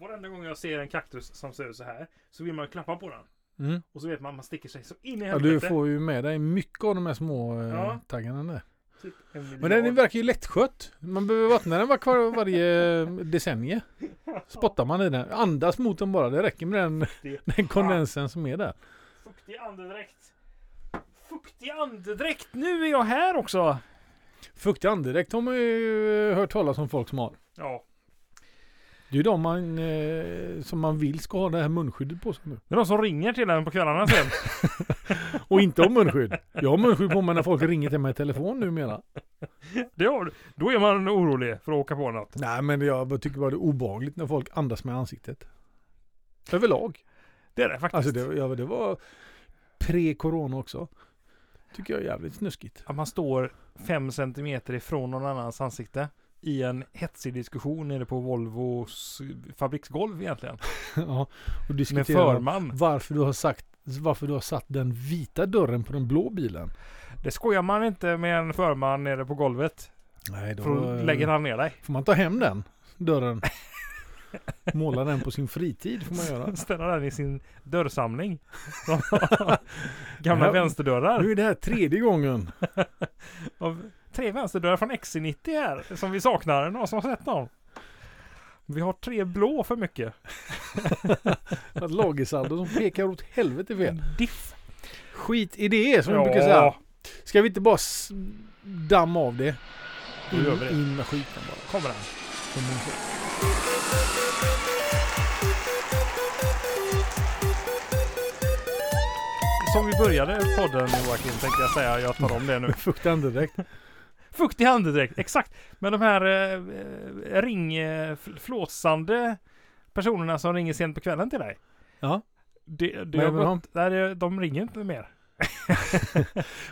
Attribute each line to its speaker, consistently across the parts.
Speaker 1: varenda gång jag ser en kaktus som ser ut så här så vill man ju klappa på den.
Speaker 2: Mm.
Speaker 1: Och så vet man att man sticker sig så in i
Speaker 2: Ja, du
Speaker 1: helvete.
Speaker 2: får ju med dig mycket av de här små eh,
Speaker 1: Ja.
Speaker 2: taggarna där.
Speaker 1: Typ en
Speaker 2: Men
Speaker 1: miljard.
Speaker 2: den verkar ju lättskött. Man behöver vattna den var kvar varje eh, decennium. Spottar man i den. Andas mot den bara. Det räcker med den,
Speaker 1: Det-
Speaker 2: den kondensen som är där.
Speaker 1: Fuktig andedräkt. Fuktig andedräkt. Nu är jag här också.
Speaker 2: Fuktig andedräkt har man ju eh, hört talas om folk som har.
Speaker 1: Ja.
Speaker 2: Det är ju de man, eh, som man vill ska ha det här munskyddet på sig nu.
Speaker 1: Det är de som ringer till en på kvällarna sen.
Speaker 2: Och inte ha munskydd. Jag har munskydd på mig när folk ringer till mig i telefon numera.
Speaker 1: Det har, du. då är man orolig för att åka på något.
Speaker 2: Nej men jag bara tycker bara det är obehagligt när folk andas med ansiktet. Överlag.
Speaker 1: Det är det faktiskt.
Speaker 2: Alltså det, ja, det var pre-corona också. Tycker jag är jävligt snuskigt.
Speaker 1: Att man står fem centimeter ifrån någon annans ansikte i en hetsig diskussion nere på Volvos fabriksgolv egentligen.
Speaker 2: ja, och
Speaker 1: Med
Speaker 2: diskutera
Speaker 1: förman.
Speaker 2: varför du har sagt varför du har satt den vita dörren på den blå bilen.
Speaker 1: Det skojar man inte med en förman nere på golvet.
Speaker 2: Nej, då
Speaker 1: För då lägger han ner dig.
Speaker 2: får man ta hem den dörren. Måla den på sin fritid får man göra.
Speaker 1: Ställa den i sin dörrsamling. Gamla
Speaker 2: Ja.
Speaker 1: vänsterdörrar.
Speaker 2: Nu är det här tredje gången.
Speaker 1: av tre vänsterdörrar från XC90 här som vi saknar. Någon som har sett någon? Vi har tre blå för mycket.
Speaker 2: Att lagersaldo som pekar åt helvete fel.
Speaker 1: Diff.
Speaker 2: Skit i det som vi brukar säga. Ska vi inte bara s- damma av det?
Speaker 1: Då
Speaker 2: In,
Speaker 1: gör vi det.
Speaker 2: in med skiten bara.
Speaker 1: kommer den.
Speaker 2: Som man säger.
Speaker 1: Som vi började podden Joakim tänkte jag säga. Jag tar om det nu.
Speaker 2: Fukta andedräkt.
Speaker 1: Fuktig andedräkt, exakt. Men de här eh, eh, ring, eh, fl- flåsande personerna som ringer sent på kvällen till dig.
Speaker 2: Ja.
Speaker 1: Det, det har
Speaker 2: Vad gör vi med
Speaker 1: gått, nej, det- de ringer inte mer.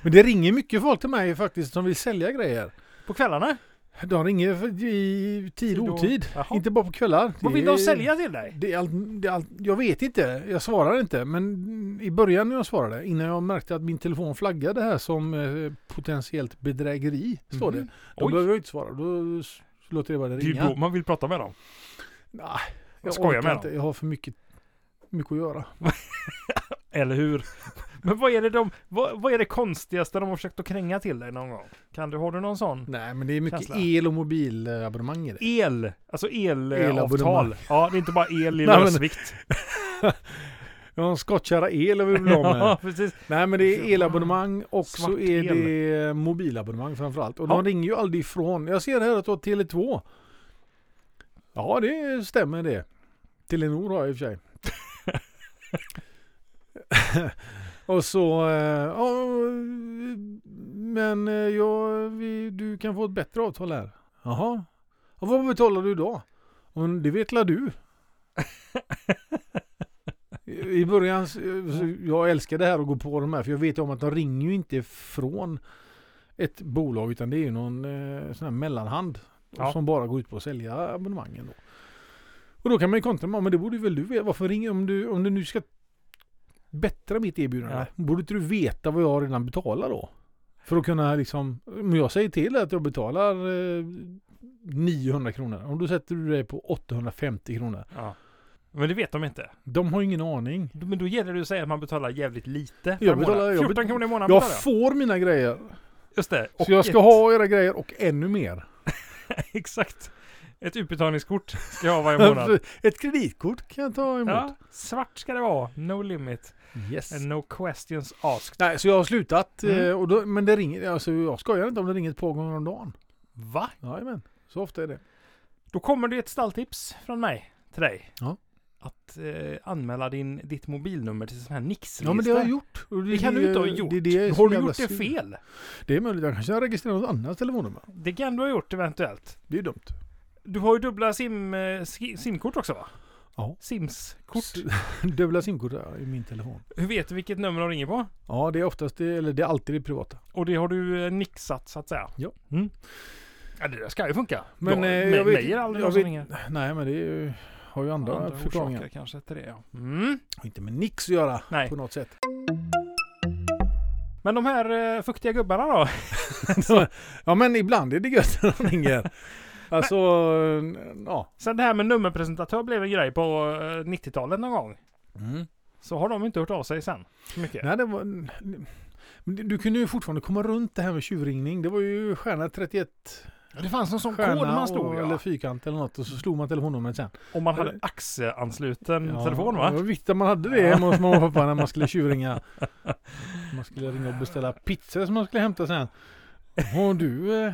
Speaker 2: Men det ringer mycket folk till mig faktiskt som vill sälja grejer.
Speaker 1: På kvällarna?
Speaker 2: De ringer för- i tid och
Speaker 1: Tid och-
Speaker 2: otid.
Speaker 1: Jaha.
Speaker 2: Inte bara på kvällar.
Speaker 1: Vad
Speaker 2: Det
Speaker 1: vill de
Speaker 2: är-
Speaker 1: sälja till dig?
Speaker 2: Det är allt, det är allt, jag vet inte, jag svarar inte. Men i början när jag svarade, innan jag märkte att min telefon flaggade här som eh, potentiellt bedrägeri, står det.
Speaker 1: Mhm.
Speaker 2: Då
Speaker 1: Oj.
Speaker 2: behöver jag inte svara, då s- låter jag bara det
Speaker 1: Det är ju
Speaker 2: ringa.
Speaker 1: då man vill prata med dem.
Speaker 2: Nej,
Speaker 1: Jag skojar
Speaker 2: orkar
Speaker 1: med
Speaker 2: inte.
Speaker 1: dem.
Speaker 2: Jag har för mycket, mycket att göra.
Speaker 1: Eller hur? Men vad är det de, vad, vad är det konstigaste de har försökt att kränga till dig någon gång? Kan du, har du någon sån?
Speaker 2: Nej, men det är mycket
Speaker 1: Känsla.
Speaker 2: el och mobilabonnemang i det.
Speaker 1: El, alltså elavtal.
Speaker 2: Elavonnemang.
Speaker 1: Ja, det är inte bara el i
Speaker 2: Nej, men-
Speaker 1: lösvikt.
Speaker 2: Jag har en skottkärra el och vill bli av med.
Speaker 1: Ja, precis.
Speaker 2: Nej, men det är elabonnemang och så
Speaker 1: Svart
Speaker 2: är
Speaker 1: el.
Speaker 2: det mobilabonnemang framförallt. Och
Speaker 1: Ja.
Speaker 2: de ringer ju aldrig ifrån. Jag ser här att du har Tele2. Ja, det stämmer det. Telenor har jag i och för sig. och så, eh, ja, men eh, jag, vi, du kan få ett bättre avtal här. Jaha, ja, vad betalar du då? "Ja, men Det vet la du. I början, så- så- jag älskar det här att gå på de här för jag vet ju om att de ringer ju inte från ett bolag utan det är ju någon eh, sån här mellanhand
Speaker 1: Ja.
Speaker 2: som bara går ut på att sälja abonnemangen. Då. Och då kan man ju kontra med, "Ja, men det borde väl du veta, varför ringer om du, om du nu ska bättra mitt erbjudande? Borde inte du veta vad jag redan betalar då? För att kunna liksom, om jag säger till att jag betalar eh, 900 kronor, om då sätter du dig på 850 kronor.
Speaker 1: Ja. Men det vet de inte.
Speaker 2: De har ju ingen aning.
Speaker 1: Men då gäller det att säga att man betalar jävligt lite per
Speaker 2: Jag betalar-
Speaker 1: månad.
Speaker 2: jag
Speaker 1: 14
Speaker 2: bet-
Speaker 1: kronor i månaden betalar
Speaker 2: Jag
Speaker 1: jag.
Speaker 2: får mina grejer.
Speaker 1: Just det.
Speaker 2: Så jag ska
Speaker 1: ett,
Speaker 2: ha era grejer och ännu mer.
Speaker 1: Exakt. Ett utbetalningskort ska jag ha varje månad.
Speaker 2: Ett kreditkort kan jag ta emot.
Speaker 1: Ja, svart ska det vara. No limit.
Speaker 2: Yes.
Speaker 1: And no questions asked.
Speaker 2: Nej, så jag har slutat.
Speaker 1: Mm.
Speaker 2: eh, Och då, men det ringer, alltså jag skojar inte om det ringer ett par gånger om dagen.
Speaker 1: Va?
Speaker 2: Jajamän, så ofta är det.
Speaker 1: Då kommer det ett stalltips från mig till dig.
Speaker 2: Ja.
Speaker 1: Att eh, anmäla din, ditt mobilnummer till sån här nix
Speaker 2: Ja men det har jag gjort. Och
Speaker 1: Det kan du inte ha gjort.
Speaker 2: Det, är det som
Speaker 1: har du
Speaker 2: jävla
Speaker 1: gjort det
Speaker 2: synd.
Speaker 1: fel?
Speaker 2: Det är möjligt, jag kanske har registrerat något annat telefonnummer.
Speaker 1: Det kan du ha gjort eventuellt.
Speaker 2: Det är ju dumt.
Speaker 1: Du har ju dubbla sim, eh, sk- simkort också va?
Speaker 2: Ja.
Speaker 1: Simskort.
Speaker 2: Dubbla simkort har jag i min telefon.
Speaker 1: Hur vet du vilket nummer de ringer på?
Speaker 2: Ja, det är oftast, det, eller det är alltid det privata.
Speaker 1: Och det har du eh, nixat så att säga?
Speaker 2: Ja.
Speaker 1: Mm. Ja det där ska ju funka.
Speaker 2: Men,
Speaker 1: ja,
Speaker 2: eh,
Speaker 1: jag,
Speaker 2: jag vet-
Speaker 1: mig är det aldrig
Speaker 2: jag
Speaker 1: någon som
Speaker 2: vet-
Speaker 1: ringer.
Speaker 2: Nej, men det är ju, har ju andra,
Speaker 1: Andra
Speaker 2: förklaringar.
Speaker 1: orsaker kanske till det ja. Mm.
Speaker 2: Har Inte med nix att göra
Speaker 1: Nej.
Speaker 2: på något sätt.
Speaker 1: Men de här eh, fuktiga gubbarna då?
Speaker 2: ja men ibland är det gött när de ringer. Alltså, eh, ja.
Speaker 1: Sen det här med nummerpresentatör blev en grej på eh, 90-talet någon gång.
Speaker 2: Mm.
Speaker 1: Så har de inte hört av sig sen. Så mycket.
Speaker 2: Nej, det var... Men du- Du kunde ju fortfarande komma runt det här med tjuvringning. Det var ju stjärna 31,
Speaker 1: Det fanns en sån
Speaker 2: stjärna
Speaker 1: kod man slog
Speaker 2: och,
Speaker 1: ja.
Speaker 2: eller fyrkant eller något och så slog man telefonnumret sen.
Speaker 1: Om man hade axeansluten
Speaker 2: Ja,
Speaker 1: Mm. telefon
Speaker 2: Det
Speaker 1: va?
Speaker 2: var viktigt att man hade det hemma hos mamma och pappa när man skulle tjuvringa. Man skulle ringa och beställa pizza som man skulle hämta sen. Har du, eh,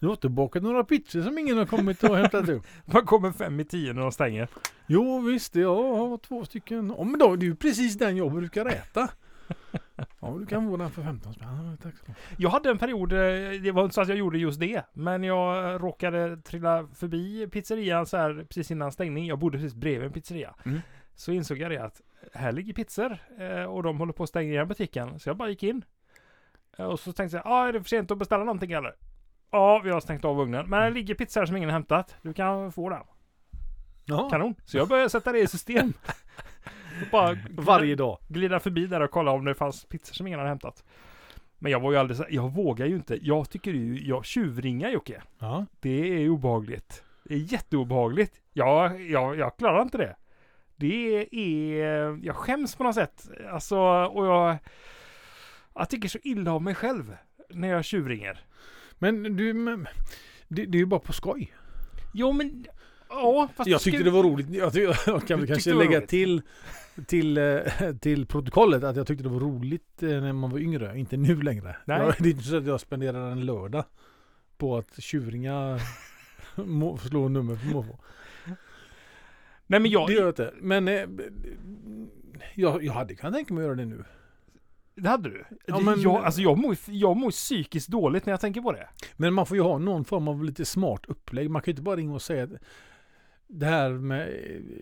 Speaker 2: du har inte bakat några pizzor som ingen har kommit och hämtat upp?
Speaker 1: Man kommer fem i tio när de stänger.
Speaker 2: Jo visst, jag har två stycken. Ja men då, det är ju precis den jag brukar äta. Ja, men du kan få den för 15 spänn. Ja, Tack så mycket.
Speaker 1: Jag hade en period, eh, det var inte så att jag gjorde just det, men jag råkade trilla förbi pizzerian så här precis innan stängning. Jag bodde precis bredvid en pizzeria.
Speaker 2: Mm.
Speaker 1: Så insåg jag det att här ligger pizzor eh, och de håller på att stänga igen butiken. Så jag bara gick in. Eh, Och så tänkte jag, ah, är det för sent att beställa någonting eller? Ja, vi har stängt av ugnen.
Speaker 2: Mm.
Speaker 1: Men det ligger pizzor här som ingen har hämtat. Du kan få den.
Speaker 2: Ja,
Speaker 1: Kanon. Så jag började sätta det i system. Och bara
Speaker 2: varje dag.
Speaker 1: glida förbi där och kolla om det fanns pizzor som ingen hade hämtat. Men jag var ju alldeles, jag vågar ju inte. Jag tycker ju, jag tjuvringar Jocke.
Speaker 2: Ja.
Speaker 1: Det är obehagligt. Det är jätteobehagligt. Jag, jag, jag klarar inte det. Det är, jag skäms på något sätt. Alltså, och jag, jag tycker så illa om mig själv när jag tjuvringer.
Speaker 2: Men du, men, det, det är ju bara på skoj.
Speaker 1: Jo men, ja fast
Speaker 2: Jag tyckte det var roligt. Jag, ty- jag
Speaker 1: Du
Speaker 2: kan väl
Speaker 1: tyckte
Speaker 2: kanske
Speaker 1: det var
Speaker 2: lägga
Speaker 1: roligt.
Speaker 2: till till, eh, till protokollet att jag tyckte det var roligt eh, när man var yngre. Inte nu längre.
Speaker 1: Nej.
Speaker 2: Jag, det är inte så att jag spenderar en lördag på att tjuringa må- slå nummer på måfå.
Speaker 1: Nej men jag,
Speaker 2: Det gör jag inte. Men eh, jag, jag hade kunnat tänka mig att göra det nu.
Speaker 1: det hade du.
Speaker 2: Ja,
Speaker 1: Det-
Speaker 2: men-
Speaker 1: jag, alltså jag mår, jag mår psykiskt dåligt när jag tänker på det.
Speaker 2: Men man får ju ha någon form av lite smart upplägg. Man kan ju inte bara ringa och säga att det här med,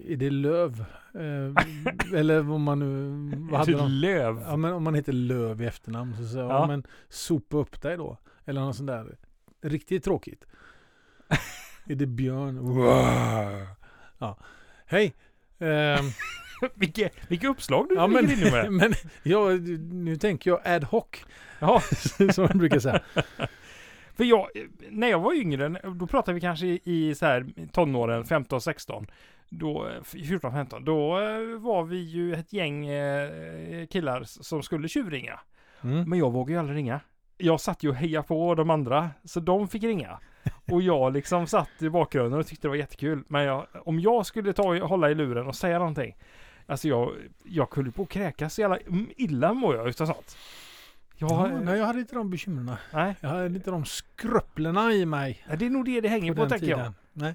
Speaker 2: är det löv? Eh, eller vad man nu, vad hade
Speaker 1: Typ
Speaker 2: de?
Speaker 1: löv.
Speaker 2: Ja men om man heter löv i efternamn så säger jag,
Speaker 1: Ja.
Speaker 2: ja. men sopa upp dig då. Eller något sånt där riktigt tråkigt. är det björn? Wow. Ja. Hej! Ehm,
Speaker 1: Vilka, vilka uppslag du
Speaker 2: Ja, men-
Speaker 1: ligger inne med.
Speaker 2: men jag, nu tänker jag ad hoc,
Speaker 1: Ja,
Speaker 2: som man brukar säga.
Speaker 1: för jag, när jag var yngre, då pratade vi kanske i, i så här tonåren, 15-16. Då, 14-15, då eh, var vi ju ett gäng eh, killar som skulle tjuvringa.
Speaker 2: Mm.
Speaker 1: Men jag vågade ju aldrig ringa. Jag satt ju och hejade på de andra, så de fick ringa. Och jag liksom satt i bakgrunden och tyckte det var jättekul. Men jag, om jag skulle ta, hålla i luren och säga någonting. Alltså jag, jag kunde på att kräkas så jävla illa mår jag utav sånt. Jag,
Speaker 2: Ja, nej, jag hade inte de bekymren.
Speaker 1: nej,
Speaker 2: Jag hade inte de skröpplena i mig.
Speaker 1: det är nog det det hänger
Speaker 2: på
Speaker 1: på,
Speaker 2: den
Speaker 1: tänker jag.
Speaker 2: tiden. Nej.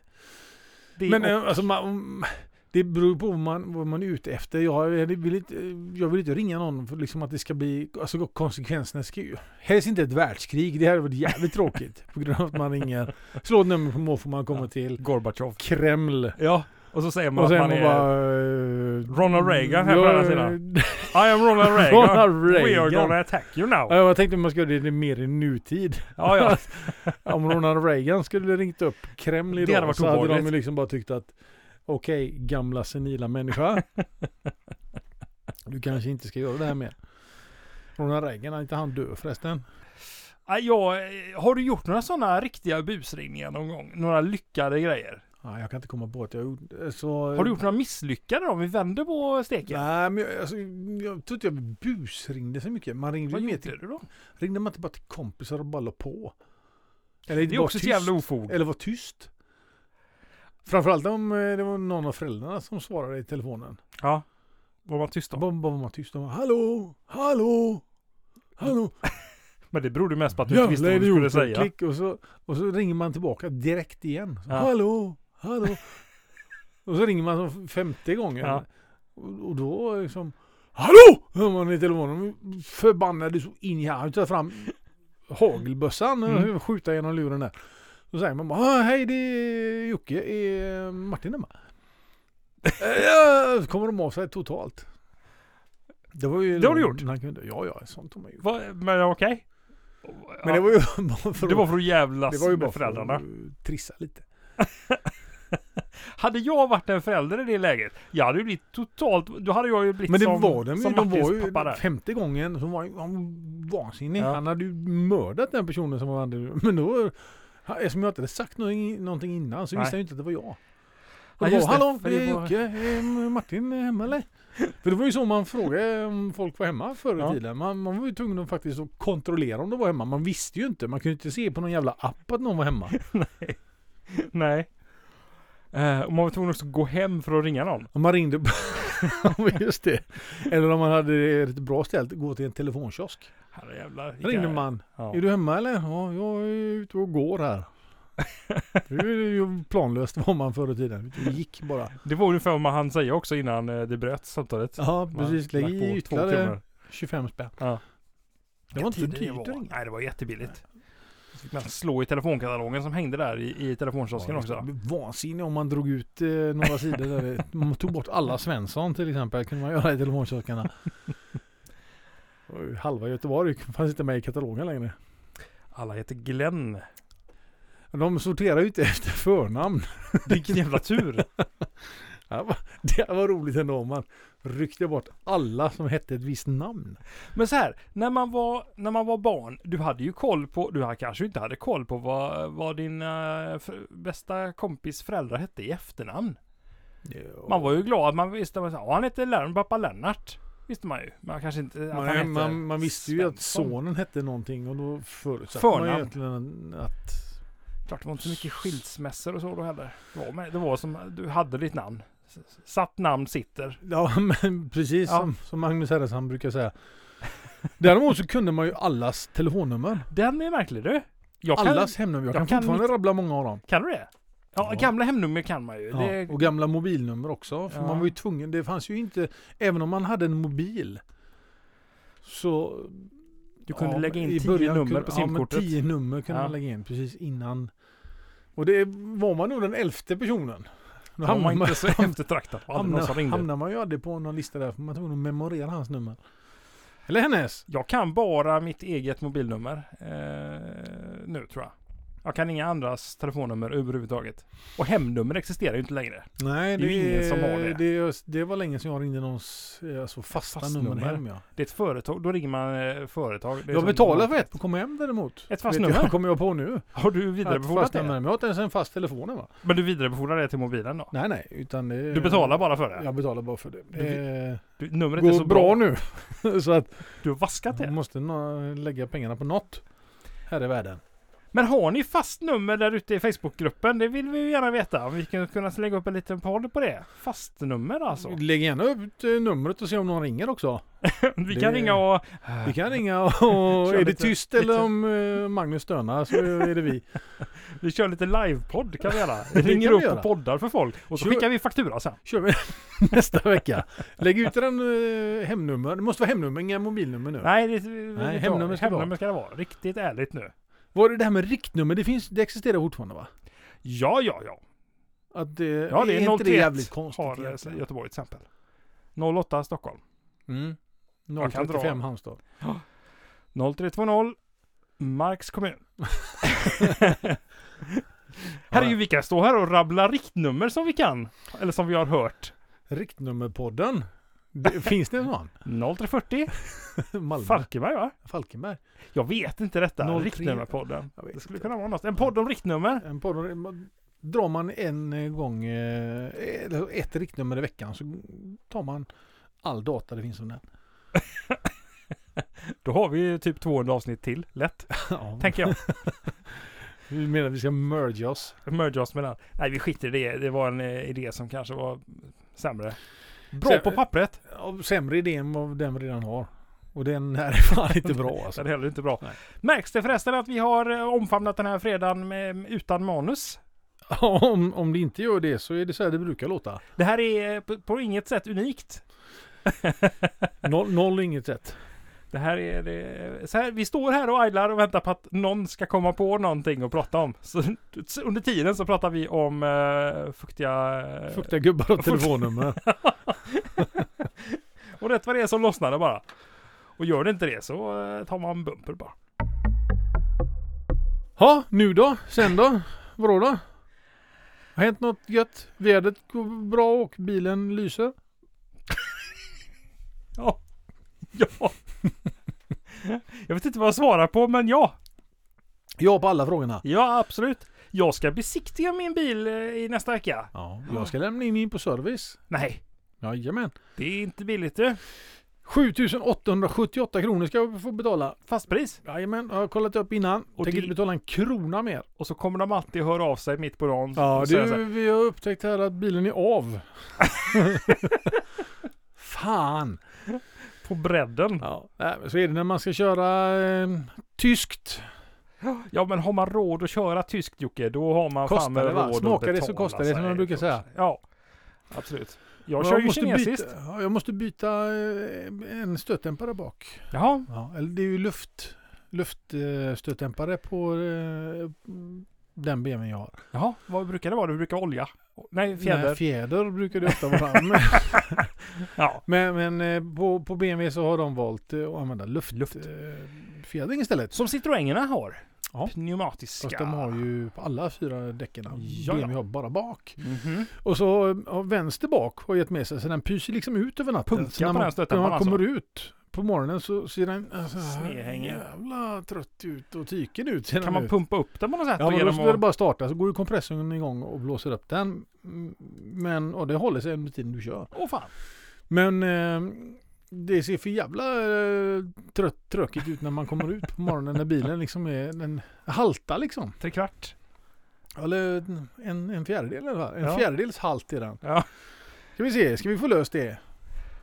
Speaker 1: Det,
Speaker 2: Men
Speaker 1: och,
Speaker 2: eh, alltså, man, om- det beror på vad man, vad man är ute efter. Jag, jag, vill inte, jag vill inte ringa någon för liksom att det ska bli, alltså konsekvenserna ska ju, helst inte ett världskrig, det här varit jävligt tråkigt. På grund av att man ringer, slår ett nummer på måfå man kommer till,
Speaker 1: Gorbatjov.
Speaker 2: Kreml.
Speaker 1: Ja, och så säger man
Speaker 2: Och
Speaker 1: att
Speaker 2: sen
Speaker 1: man
Speaker 2: man
Speaker 1: är...
Speaker 2: bara... eh,
Speaker 1: Ronald Reagan här på
Speaker 2: Ja,
Speaker 1: andra sidan. I am Ronald Reagan.
Speaker 2: Ronald
Speaker 1: We are
Speaker 2: Reagan.
Speaker 1: gonna attack you now.
Speaker 2: Ja, jag tänkte man skulle göra det mer i nutid.
Speaker 1: Ja, ja.
Speaker 2: Om Ronald Reagan skulle ringt upp Kreml
Speaker 1: Det
Speaker 2: idag
Speaker 1: hade varit
Speaker 2: så hade de
Speaker 1: obehagligt.
Speaker 2: ju liksom bara tyckt att okej, gamla senila människa. du kanske inte ska göra det här mer. Ronald Reagan, är inte han dö förresten?
Speaker 1: Ja, jag, eh, har du gjort några sådana riktiga busringningar någon gång? Några lyckade grejer?
Speaker 2: Nej, jag kan inte komma på att jag gjorde så...
Speaker 1: Har du gjort några misslyckade om vi vänder på steken?
Speaker 2: Nej, men jag, alltså, jag tror inte jag busringde så mycket. Man ringde
Speaker 1: Vad
Speaker 2: ju mer
Speaker 1: gjorde
Speaker 2: till,
Speaker 1: du då?
Speaker 2: ringde man inte bara till kompisar och bara la på. Eller
Speaker 1: Det är
Speaker 2: var
Speaker 1: också ett
Speaker 2: tyst.
Speaker 1: jävla ofog.
Speaker 2: Eller var tyst. Framförallt om eh, det var någon av föräldrarna som svarade i telefonen.
Speaker 1: Ja. Var man tyst om.
Speaker 2: Bara, bara var man tyst. De bara, hallå, hallå, hallå.
Speaker 1: Men det berodde mest på att du inte visste vad du
Speaker 2: idioter.
Speaker 1: skulle säga.
Speaker 2: Klick och så, och så ringer man tillbaka direkt igen. Så,
Speaker 1: Ja.
Speaker 2: Hallå, hallå. och så ringer man som femte gången.
Speaker 1: Ja.
Speaker 2: Och, och då liksom, hallå! Hör man i telefonen. Förbannade så in i här. Tar fram hagelbössan och
Speaker 1: Mm.
Speaker 2: skjuta genom luren där. Så säger man bara, "Ah, hej det är Jocke, är Martin hemma? Eh, Så kommer de av sig totalt. Det, var ju
Speaker 1: Det har du gjort?
Speaker 2: Man kunde, ja, ja, sånt har man gjort.
Speaker 1: Va, men okej.
Speaker 2: Men det var ju bara för
Speaker 1: det var
Speaker 2: att-
Speaker 1: för att jävlas
Speaker 2: det var ju bara
Speaker 1: med
Speaker 2: för
Speaker 1: föräldrarna.
Speaker 2: att eh, trissa lite.
Speaker 1: Hade jag varit en förälder i det läget, jag hade ju blivit totalt... Då hade jag ju blivit
Speaker 2: Men det
Speaker 1: som,
Speaker 2: var de ju.
Speaker 1: som
Speaker 2: De
Speaker 1: Martins
Speaker 2: var ju
Speaker 1: pappa där.
Speaker 2: femte gången. Så var han- han var vansinnig.
Speaker 1: Ja.
Speaker 2: Han hade ju mördat den personen som var andra. Men då... Han- Eftersom jag inte hade sagt någon- någonting innan så
Speaker 1: Nej.
Speaker 2: visste han ju inte att det var jag. Och
Speaker 1: Nej,
Speaker 2: då
Speaker 1: just
Speaker 2: bara,
Speaker 1: det,
Speaker 2: Hallå,
Speaker 1: för
Speaker 2: det
Speaker 1: det
Speaker 2: är
Speaker 1: var-
Speaker 2: Jocke. Är Martin hemma eller? För det var ju så man frågade om folk var hemma förr i
Speaker 1: Ja.
Speaker 2: tiden. Man, man var ju tvungen att faktiskt att kontrollera om de var hemma. Man visste ju inte. Man kunde inte se på någon jävla app att någon var hemma.
Speaker 1: Nej. Eh, och man var tvungen också att gå hem för att ringa någon.
Speaker 2: Om man ringde upp. Ja, men Just det. Eller om man hade det rätt bra ställt, gå till en telefonkiosk.
Speaker 1: Herre jävlar.
Speaker 2: Då ringde man.
Speaker 1: Ja.
Speaker 2: Är du hemma eller? Ja, jag är ute och går här. Det är ju planlöst var man förr i tiden. Det gick bara.
Speaker 1: Det var ungefär vad han säger också innan eh, det bröt samtalet.
Speaker 2: Ja,
Speaker 1: Man
Speaker 2: precis. Lägg
Speaker 1: lagt på
Speaker 2: i
Speaker 1: två
Speaker 2: ytterligare
Speaker 1: kronor.
Speaker 2: 25 spänn.
Speaker 1: Ja.
Speaker 2: Det var inte så
Speaker 1: Vilken tid
Speaker 2: dyrt att
Speaker 1: det var.
Speaker 2: ringa.
Speaker 1: Nej, det var jättebilligt. Så fick man slå i telefonkatalogen som hängde där i, i telefonkiosken också.
Speaker 2: Vansinne om man drog ut eh, några sidor där. det- Man tog bort alla Svensson till exempel. kunde man göra i telefonkioskarna. Det var ju Halva Göteborg fanns inte med i katalogen längre.
Speaker 1: Alla heter Glenn.
Speaker 2: De sorterar ju inte efter förnamn.
Speaker 1: Vilken jävla tur.
Speaker 2: Det var, det var roligt ändå om man ryckte bort alla som hette ett visst namn.
Speaker 1: Men så här, när man, var, när man var barn, du hade ju koll på, du hade kanske inte hade koll på vad, vad din eh, f- bästa kompis föräldrar hette i efternamn. Man var ju glad att man visste, man sa, ja han heter Lennart, pappa Lennart. Visste man ju. Man kanske inte, att han
Speaker 2: man,
Speaker 1: hette
Speaker 2: man, man visste ju att
Speaker 1: Svensson.
Speaker 2: sonen hette någonting och då förutsatte man ju
Speaker 1: Förnamn.
Speaker 2: egentligen att...
Speaker 1: Klart det var inte så mycket skilsmässor och så då heller. Det var, med, det var som, du hade ditt namn. S- Satt namn sitter.
Speaker 2: Ja, men precis
Speaker 1: Ja.
Speaker 2: Som, som Magnus Herresson brukar säga. Däremot så kunde man ju allas telefonnummer.
Speaker 1: Den är märklig du. Jag kan,
Speaker 2: Allas hemnummer. Jag,
Speaker 1: jag
Speaker 2: kan,
Speaker 1: kan
Speaker 2: fortfarande rabbla många av dem.
Speaker 1: kan du det? Ja,
Speaker 2: Ja.
Speaker 1: gamla hemnummer kan man ju.
Speaker 2: Ja.
Speaker 1: Det,
Speaker 2: Och gamla mobilnummer också. För
Speaker 1: Ja.
Speaker 2: man var ju tvungen. Det fanns ju inte... Även om man hade en mobil. Så...
Speaker 1: du kunde
Speaker 2: ja,
Speaker 1: lägga in
Speaker 2: i
Speaker 1: tio
Speaker 2: början
Speaker 1: nummer
Speaker 2: kunde-
Speaker 1: på
Speaker 2: ja, men
Speaker 1: simkortet.
Speaker 2: tio nummer kunde
Speaker 1: Ja.
Speaker 2: man lägga in precis innan. Och det var man nog den elfte personen. Då
Speaker 1: Då var
Speaker 2: hamnade
Speaker 1: man
Speaker 2: man,
Speaker 1: inte så eftertraktad. Det var aldrig någon som
Speaker 2: hamnar,
Speaker 1: ringde.
Speaker 2: hamnar man ju aldrig på någon lista där för man var tvungen att memorera hans nummer. Eller hennes.
Speaker 1: Jag kan bara mitt eget mobilnummer eh, nu tror jag. Jag kan inga andras telefonnummer överhuvudtaget. Och hemnummer existerar ju inte längre.
Speaker 2: Nej,
Speaker 1: Det är ju ingen som har det.
Speaker 2: det. Det var länge sedan jag ringde någons eh, alltså fasta
Speaker 1: Fast
Speaker 2: nummer
Speaker 1: nummer.
Speaker 2: hem. Ja.
Speaker 1: Det är ett företag, då ringer man eh, företag. Det är
Speaker 2: Jag
Speaker 1: som-
Speaker 2: betalar för ett på kom hem däremot.
Speaker 1: Ett fast
Speaker 2: Vet du,
Speaker 1: nummer?
Speaker 2: kommer jag på nu.
Speaker 1: Har du
Speaker 2: Ett fast
Speaker 1: vidarebefordrat
Speaker 2: nummer.
Speaker 1: det?
Speaker 2: Men jag har inte ens en fast telefon va?
Speaker 1: Men du vidarebefordrar det till mobilen då?
Speaker 2: Nej, nej. Utan det,
Speaker 1: Du betalar bara för det?
Speaker 2: Jag betalar bara för det.
Speaker 1: Du-
Speaker 2: Det
Speaker 1: Du, numret är
Speaker 2: går
Speaker 1: så bra.
Speaker 2: bra nu. Mm. så att
Speaker 1: Du har vaskat
Speaker 2: man
Speaker 1: det.
Speaker 2: måste nå- lägga pengarna på något här i världen.
Speaker 1: Men har ni fast nummer där ute i Facebookgruppen? Det vill vi ju gärna veta. Om vi skulle kunna lägga upp en liten podd på det. Fast nummer alltså.
Speaker 2: Lägg gärna upp eh, numret och se om någon ringer också.
Speaker 1: Vi kan
Speaker 2: det-
Speaker 1: ringa och...
Speaker 2: Vi kan ringa och
Speaker 1: Kör
Speaker 2: är det
Speaker 1: lite-
Speaker 2: tyst eller
Speaker 1: lite-
Speaker 2: om eh, Magnus stönar så är det vi.
Speaker 1: Vi kör lite livepodd kan vi göra.
Speaker 2: Det
Speaker 1: Vi
Speaker 2: kan
Speaker 1: ringer
Speaker 2: vi
Speaker 1: upp
Speaker 2: göra.
Speaker 1: och poddar för folk. Och så
Speaker 2: Kör.
Speaker 1: skickar vi faktura sen.
Speaker 2: Kör vi nästa vecka. Lägg ut den eh, hemnummer. Det måste vara hemnummer, inga mobilnummer nu.
Speaker 1: Nej, det,
Speaker 2: Nej,
Speaker 1: vi tar-
Speaker 2: hemnummer ska det vara.
Speaker 1: hemnummer ska det vara. Riktigt ärligt nu.
Speaker 2: Var det det här med riktnummer? Det, finns, det existerar fortfarande va?
Speaker 1: Ja, ja, ja.
Speaker 2: Att, eh,
Speaker 1: Ja, det är
Speaker 2: inte det
Speaker 1: 031
Speaker 2: jävligt konstigt
Speaker 1: har eh,
Speaker 2: egentligen?
Speaker 1: Göteborg till exempel. 08 Stockholm.
Speaker 2: mm.
Speaker 1: Jag kan dra.
Speaker 2: 035 Halmstad.
Speaker 1: 0320 Marks kommun. här är ju vi kan stå här och rabbla riktnummer som vi kan. Eller som vi har hört.
Speaker 2: Riktnummerpodden. Det, finns det en sån?
Speaker 1: 0340
Speaker 2: Malmö?
Speaker 1: Falkenberg va?
Speaker 2: Falkenberg?
Speaker 1: Jag vet inte detta.
Speaker 2: 03.
Speaker 1: Riktnummerpodden.
Speaker 2: Jag vet
Speaker 1: Det skulle
Speaker 2: inte.
Speaker 1: kunna vara något. En podd om riktnummer.
Speaker 2: En podd, man- drar man en eh, gång eh, eller ett riktnummer i veckan så tar man all data det finns om den.
Speaker 1: Då har vi ju typ 200 avsnitt till. Lätt.
Speaker 2: Ja.
Speaker 1: Tänker jag.
Speaker 2: Du menar att vi ska merge oss?
Speaker 1: Merge oss med den. Nej, vi skiter i det. Det var en eh, idé som kanske var sämre. Bra
Speaker 2: Sämre.
Speaker 1: på pappret.
Speaker 2: Ja, sämre idé än vad den vi redan har. Och den här är fan inte bra
Speaker 1: Så
Speaker 2: alltså.
Speaker 1: det är heller inte bra.
Speaker 2: Nej.
Speaker 1: Märks det förresten att vi har eh, omfamnat den här fredagen med, utan manus?
Speaker 2: om, om det inte gör det så är det så här det brukar låta.
Speaker 1: Det här är eh, på, på inget sätt unikt.
Speaker 2: Noll, noll inget sätt.
Speaker 1: Det här är det, eh, så här, vi står här och idlar och väntar på att någon ska komma på någonting att prata om. Så, så under tiden så pratar vi om eh, fuktiga... eh,
Speaker 2: Fuktiga gubbar och telefonnummer.
Speaker 1: Och rätt vad det är så lossnar det bara. Och gör det inte det så eh, tar man bumper bara.
Speaker 2: Ja, nu då? Sen då? Vadå då? Har hänt något gött? Vädret går bra och bilen lyser?
Speaker 1: Ja. Ja. Jag vet inte vad jag svarar på men ja.
Speaker 2: Ja på alla frågorna.
Speaker 1: Ja, absolut. Jag ska besiktiga min bil eh, i nästa vecka.
Speaker 2: Ja, jag ska lämna in min på service.
Speaker 1: Nej,
Speaker 2: Jajamän.
Speaker 1: det är inte billigt du.
Speaker 2: 7878 kronor ska jag få betala.
Speaker 1: Fastpris.
Speaker 2: Jajamän, jag har kollat upp innan.
Speaker 1: Och
Speaker 2: Tänker
Speaker 1: det-
Speaker 2: inte betala en krona mer.
Speaker 1: Och så kommer de alltid höra av sig mitt på dagen.
Speaker 2: Ja,
Speaker 1: och säga så
Speaker 2: du,
Speaker 1: här,
Speaker 2: vi har upptäckt här att bilen är av. Fan!
Speaker 1: På bredden.
Speaker 2: Ja, nej, men så är det när man ska köra eh, tyskt.
Speaker 1: Ja, men har man råd att köra tyskt Jocke, då har man
Speaker 2: Kostar
Speaker 1: fan med
Speaker 2: det, va?
Speaker 1: råd att
Speaker 2: Smakar det så
Speaker 1: betala
Speaker 2: kostar det, som
Speaker 1: sig
Speaker 2: man brukar
Speaker 1: för-
Speaker 2: säga.
Speaker 1: Ja, absolut. Jag
Speaker 2: Men
Speaker 1: kör ju
Speaker 2: måste
Speaker 1: kinesiskt.
Speaker 2: Byta, ja, jag måste byta eh, en stötdämpare bak.
Speaker 1: Jaha,
Speaker 2: Ja, eller det är ju luft, luftstötdämpare på eh, den BMW jag har.
Speaker 1: jaha, vad brukar det vara? Du brukar vara olja? Nej, fjäder.
Speaker 2: Nej, fjäder brukar det ofta vara. men
Speaker 1: ja.
Speaker 2: men, men eh, på, på BMW så har de valt eh, att använda luft,
Speaker 1: Luft.
Speaker 2: Eh, fjädring istället.
Speaker 1: Som citroengerna har.
Speaker 2: Ja.
Speaker 1: Pneumatiska.
Speaker 2: Fast de har ju på alla fyra däcken.
Speaker 1: Ja,
Speaker 2: BMW
Speaker 1: ja.
Speaker 2: har bara bak.
Speaker 1: Mhm.
Speaker 2: Och så eh, har vänster bak har gett med sig så den pyser liksom ut över natten.
Speaker 1: Punkar
Speaker 2: så när
Speaker 1: på
Speaker 2: man,
Speaker 1: den stötdämparen
Speaker 2: När man
Speaker 1: alltså?
Speaker 2: kommer ut på morgonen så ser den alltså,
Speaker 1: Snedhängig.
Speaker 2: jävla trött ut och tyken ut. ser
Speaker 1: Kan
Speaker 2: den
Speaker 1: man
Speaker 2: ut.
Speaker 1: pumpa upp den på något sätt?
Speaker 2: Ja,
Speaker 1: och
Speaker 2: men då
Speaker 1: genom
Speaker 2: ska det
Speaker 1: att-
Speaker 2: bara starta så går ju kompressorn igång och blåser upp den. Mm, Men, och det håller sig under tiden du kör.
Speaker 1: Åh fan.
Speaker 2: Men eh, det ser för jävla eh, trött, trökigt ut när man kommer ut på morgonen när bilen liksom är, den haltar liksom.
Speaker 1: Trekvart.
Speaker 2: Eller en, en fjärdedel eller vad? En
Speaker 1: Ja.
Speaker 2: fjärdedels halt är den.
Speaker 1: Ja.
Speaker 2: Ska vi se, ska vi få löst det?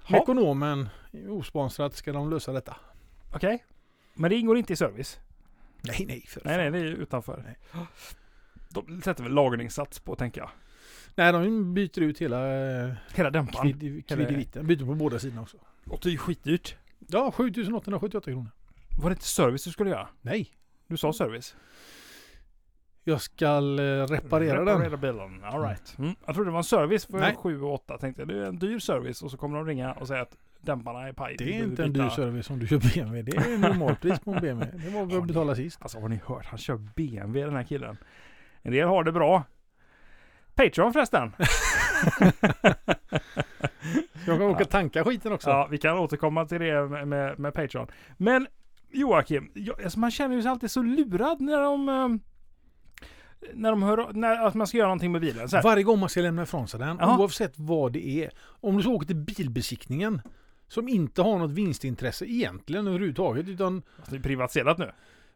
Speaker 1: Ja.
Speaker 2: Ekonomen, osponsrat, ska de lösa detta?
Speaker 1: Okej. Men det ingår inte i service?
Speaker 2: Nej, nej. För
Speaker 1: Nej, nej, det är ju utanför.
Speaker 2: Nej.
Speaker 1: De sätter väl lagringssats på, tänker jag.
Speaker 2: nej, de byter ut hela eh,
Speaker 1: Hela dämparen.
Speaker 2: kvid- kvidivitten. Byter på båda sidorna också.
Speaker 1: Låter ju skitdyrt.
Speaker 2: Ja, 7878 kronor.
Speaker 1: Var det inte service du skulle göra?
Speaker 2: Nej,
Speaker 1: Du sa service.
Speaker 2: jag ska eh, reparera den.
Speaker 1: Reparera bilen. All right. Mm. Jag trodde det var en service för
Speaker 2: Nej.
Speaker 1: 7 och 8. Tänkte jag. Det är en dyr service och så kommer de ringa och säga att dämparna är paj.
Speaker 2: Det
Speaker 1: Vi
Speaker 2: är
Speaker 1: behöver
Speaker 2: inte en
Speaker 1: byta.
Speaker 2: dyr service om du kör BMW. Det är normalpris på en BMW. Det var vad jag betalade sist.
Speaker 1: Alltså har ni hört? Han kör BMW den här killen. En del har det bra. Patreon förresten.
Speaker 2: Jag kan åka
Speaker 1: Ja.
Speaker 2: tanka skiten också.
Speaker 1: Ja, vi kan återkomma till det med, med, med Patreon. Men Joakim, jag, alltså man känner ju sig alltid så lurad när de... eh, När de hör när, att man ska göra någonting med bilen. Så här,
Speaker 2: Varje gång man ska lämna ifrån sig den,
Speaker 1: Ja.
Speaker 2: oavsett vad det är. Om du så åker till bilbesiktningen, som inte har något vinstintresse egentligen överhuvudtaget, utan
Speaker 1: alltså, det är privatiserat nu.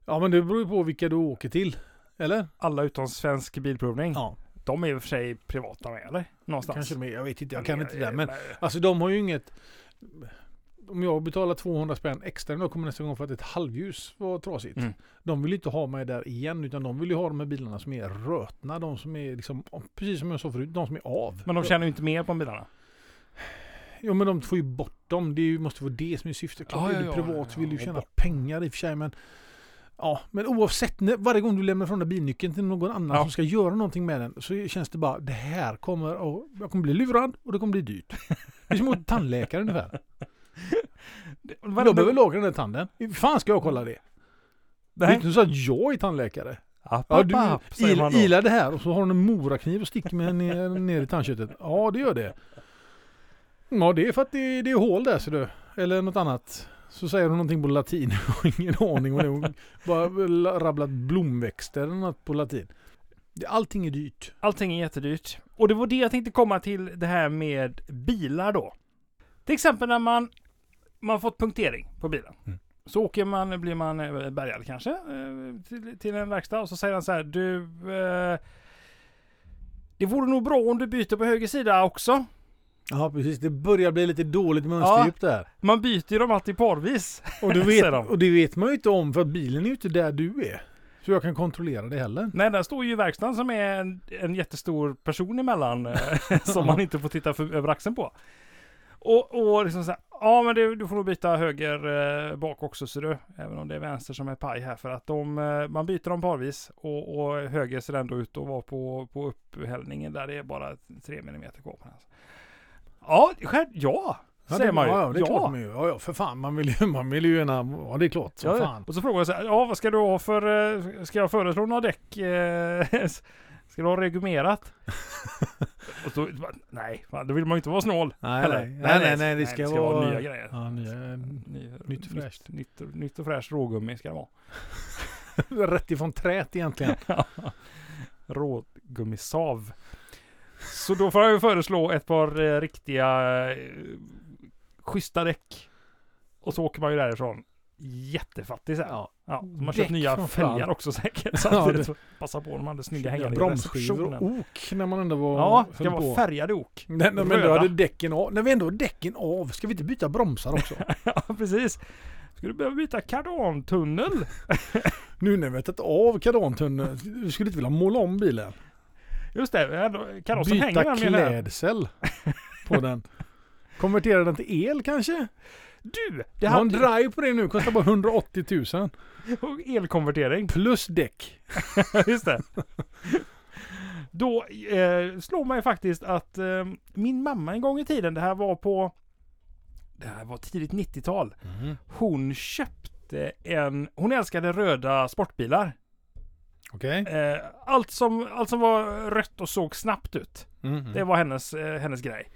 Speaker 2: ja men det beror ju på vilka du åker till. Eller?
Speaker 1: Alla utom Svensk Bilprovning.
Speaker 2: Ja,
Speaker 1: De är i och för sig privata med, eller? Någonstans.
Speaker 2: kanske de är. Jag vet inte, jag kan
Speaker 1: Ja,
Speaker 2: inte det där. Men
Speaker 1: nej.
Speaker 2: alltså de har ju inget... Om jag betalar 200 spänn extra då kommer nästa gång för att ett halvljus var trasigt.
Speaker 1: Mm.
Speaker 2: De vill ju inte ha mig där igen utan de vill ju ha de här bilarna som är rötna. De som är liksom, precis som jag sa förut, de som är av.
Speaker 1: Men de tjänar ju inte mer på bilarna.
Speaker 2: Ja men de får ju bort dem. Det är ju- måste vara det som är syftet. Klart,
Speaker 1: Ja, ja,
Speaker 2: är du
Speaker 1: ja,
Speaker 2: privat
Speaker 1: ja,
Speaker 2: så vill du
Speaker 1: ja,
Speaker 2: tjäna pengar i och för sig men... Ja, men oavsett, när, varje gång du lämnar från dig bilnyckeln till någon annan
Speaker 1: Ja.
Speaker 2: som ska göra någonting med den så känns det bara, det här kommer att... Jag kommer bli lurad och det kommer bli dyrt. Det är som att tandläkare ungefär.
Speaker 1: Vad-
Speaker 2: jag behöver laga den där tanden. Hur fan ska jag kolla det? Det är
Speaker 1: Nej.
Speaker 2: inte så att jag är tandläkare.
Speaker 1: App,
Speaker 2: Ja,
Speaker 1: app,
Speaker 2: du
Speaker 1: app, säger
Speaker 2: il,
Speaker 1: man då.
Speaker 2: ilar det här och så har hon en morakniv och sticker med ner, ner i tandköttet. Ja, det gör det. Ja, det är för att det, det är hål där ser du. Eller något annat. Så säger hon någonting på latin. Jag har ingen aning om det. Hon bara rabblat blomväxter eller något på latin. Det- Allting är dyrt.
Speaker 1: Allting är jättedyrt. Och det var det jag tänkte komma till det här med bilar då. Till exempel när man, man fått punktering på bilen.
Speaker 2: Mm.
Speaker 1: Så åker man, blir man eh, bärgad kanske eh, till, till en verkstad och så säger han så här du eh, Det vore nog bra om du byter på höger sida också.
Speaker 2: Ja, precis. Det börjar bli lite dåligt
Speaker 1: mönsterdjup
Speaker 2: där.
Speaker 1: Man byter ju dem alltid parvis.
Speaker 2: Och, du
Speaker 1: Säger
Speaker 2: vet,
Speaker 1: de.
Speaker 2: och det vet man ju inte om för att bilen är ju inte där du är. Så jag kan kontrollera det heller.
Speaker 1: Nej, där står ju verkstaden som är en, en jättestor person emellan eh, som man inte får titta för, över axeln på. Och, och liksom så här, ja men du, du får nog byta höger eh, bak också ser du. Även om det är vänster som är paj här för att de, eh, man byter dem parvis och, och höger ser ändå ut att vara på, på upphällningen där det är bara 3 millimeter kvar på den. Ja, själv, ja,
Speaker 2: Ja,
Speaker 1: säger
Speaker 2: det,
Speaker 1: man ju.
Speaker 2: Ja, det är klart man ju. Ja, ja, för fan. Man vill ju, man vill ju gärna... Ja, det är klart. Som
Speaker 1: Ja, ja.
Speaker 2: fan.
Speaker 1: Och så frågar jag så här, ja vad ska du ha för, eh, ska jag föreslå några däck? eh, Ska du ha regummerat? och så, bara, nej, fan, då vill man ju inte vara snål.
Speaker 2: Nej,
Speaker 1: Eller?
Speaker 2: nej, nej, nej, nej, det ska, vara...
Speaker 1: nya grejer.
Speaker 2: Ja, nya...
Speaker 1: Ny,
Speaker 2: Nytt och fräscht.
Speaker 1: Nytt, nytt och fräscht rågummi ska det vara.
Speaker 2: Rätt ifrån trät egentligen.
Speaker 1: Rågummisav. Så då får jag ju föreslå ett par eh, riktiga eh, schyssta däck. Och så åker man ju därifrån. Jättefattig sen. Ja. de har köpt
Speaker 2: Däck
Speaker 1: nya
Speaker 2: framför allt.
Speaker 1: fälgar också säkert.
Speaker 2: Ja,
Speaker 1: Samtidigt
Speaker 2: det-
Speaker 1: så passa på de hade snygga
Speaker 2: Ja,
Speaker 1: hängande i
Speaker 2: Bromsskivor och
Speaker 1: receptionen.
Speaker 2: ok när man ändå var...
Speaker 1: Ja,
Speaker 2: höll
Speaker 1: ska vara
Speaker 2: på.
Speaker 1: färgade ok.
Speaker 2: Nej, nej, men då
Speaker 1: röda.
Speaker 2: hade däcken av. När vi ändå har däcken av, ska vi inte byta bromsar också?
Speaker 1: Ja, precis. Ska du behöva byta kardantunnel?
Speaker 2: nu när vi har tagit av kardantunneln, vi skulle inte vilja måla om bilen.
Speaker 1: Just det, ändå- karossen hänger
Speaker 2: Byta
Speaker 1: nämligen här.
Speaker 2: klädsel på den. Konvertera den till el kanske?
Speaker 1: Du! Det
Speaker 2: Det har en
Speaker 1: hade
Speaker 2: drive på det nu, kostar bara 180 000.
Speaker 1: Och elkonvertering.
Speaker 2: Plus däck.
Speaker 1: Just det. Då eh, slår mig faktiskt att eh, min mamma en gång i tiden, det här var på det här var tidigt 90-tal.
Speaker 2: Mm-hmm.
Speaker 1: Hon köpte en, hon älskade röda sportbilar.
Speaker 2: Okej.
Speaker 1: Eh, allt, som, allt som var rött och såg snabbt ut.
Speaker 2: Mhm.
Speaker 1: Det var hennes, eh, hennes grej.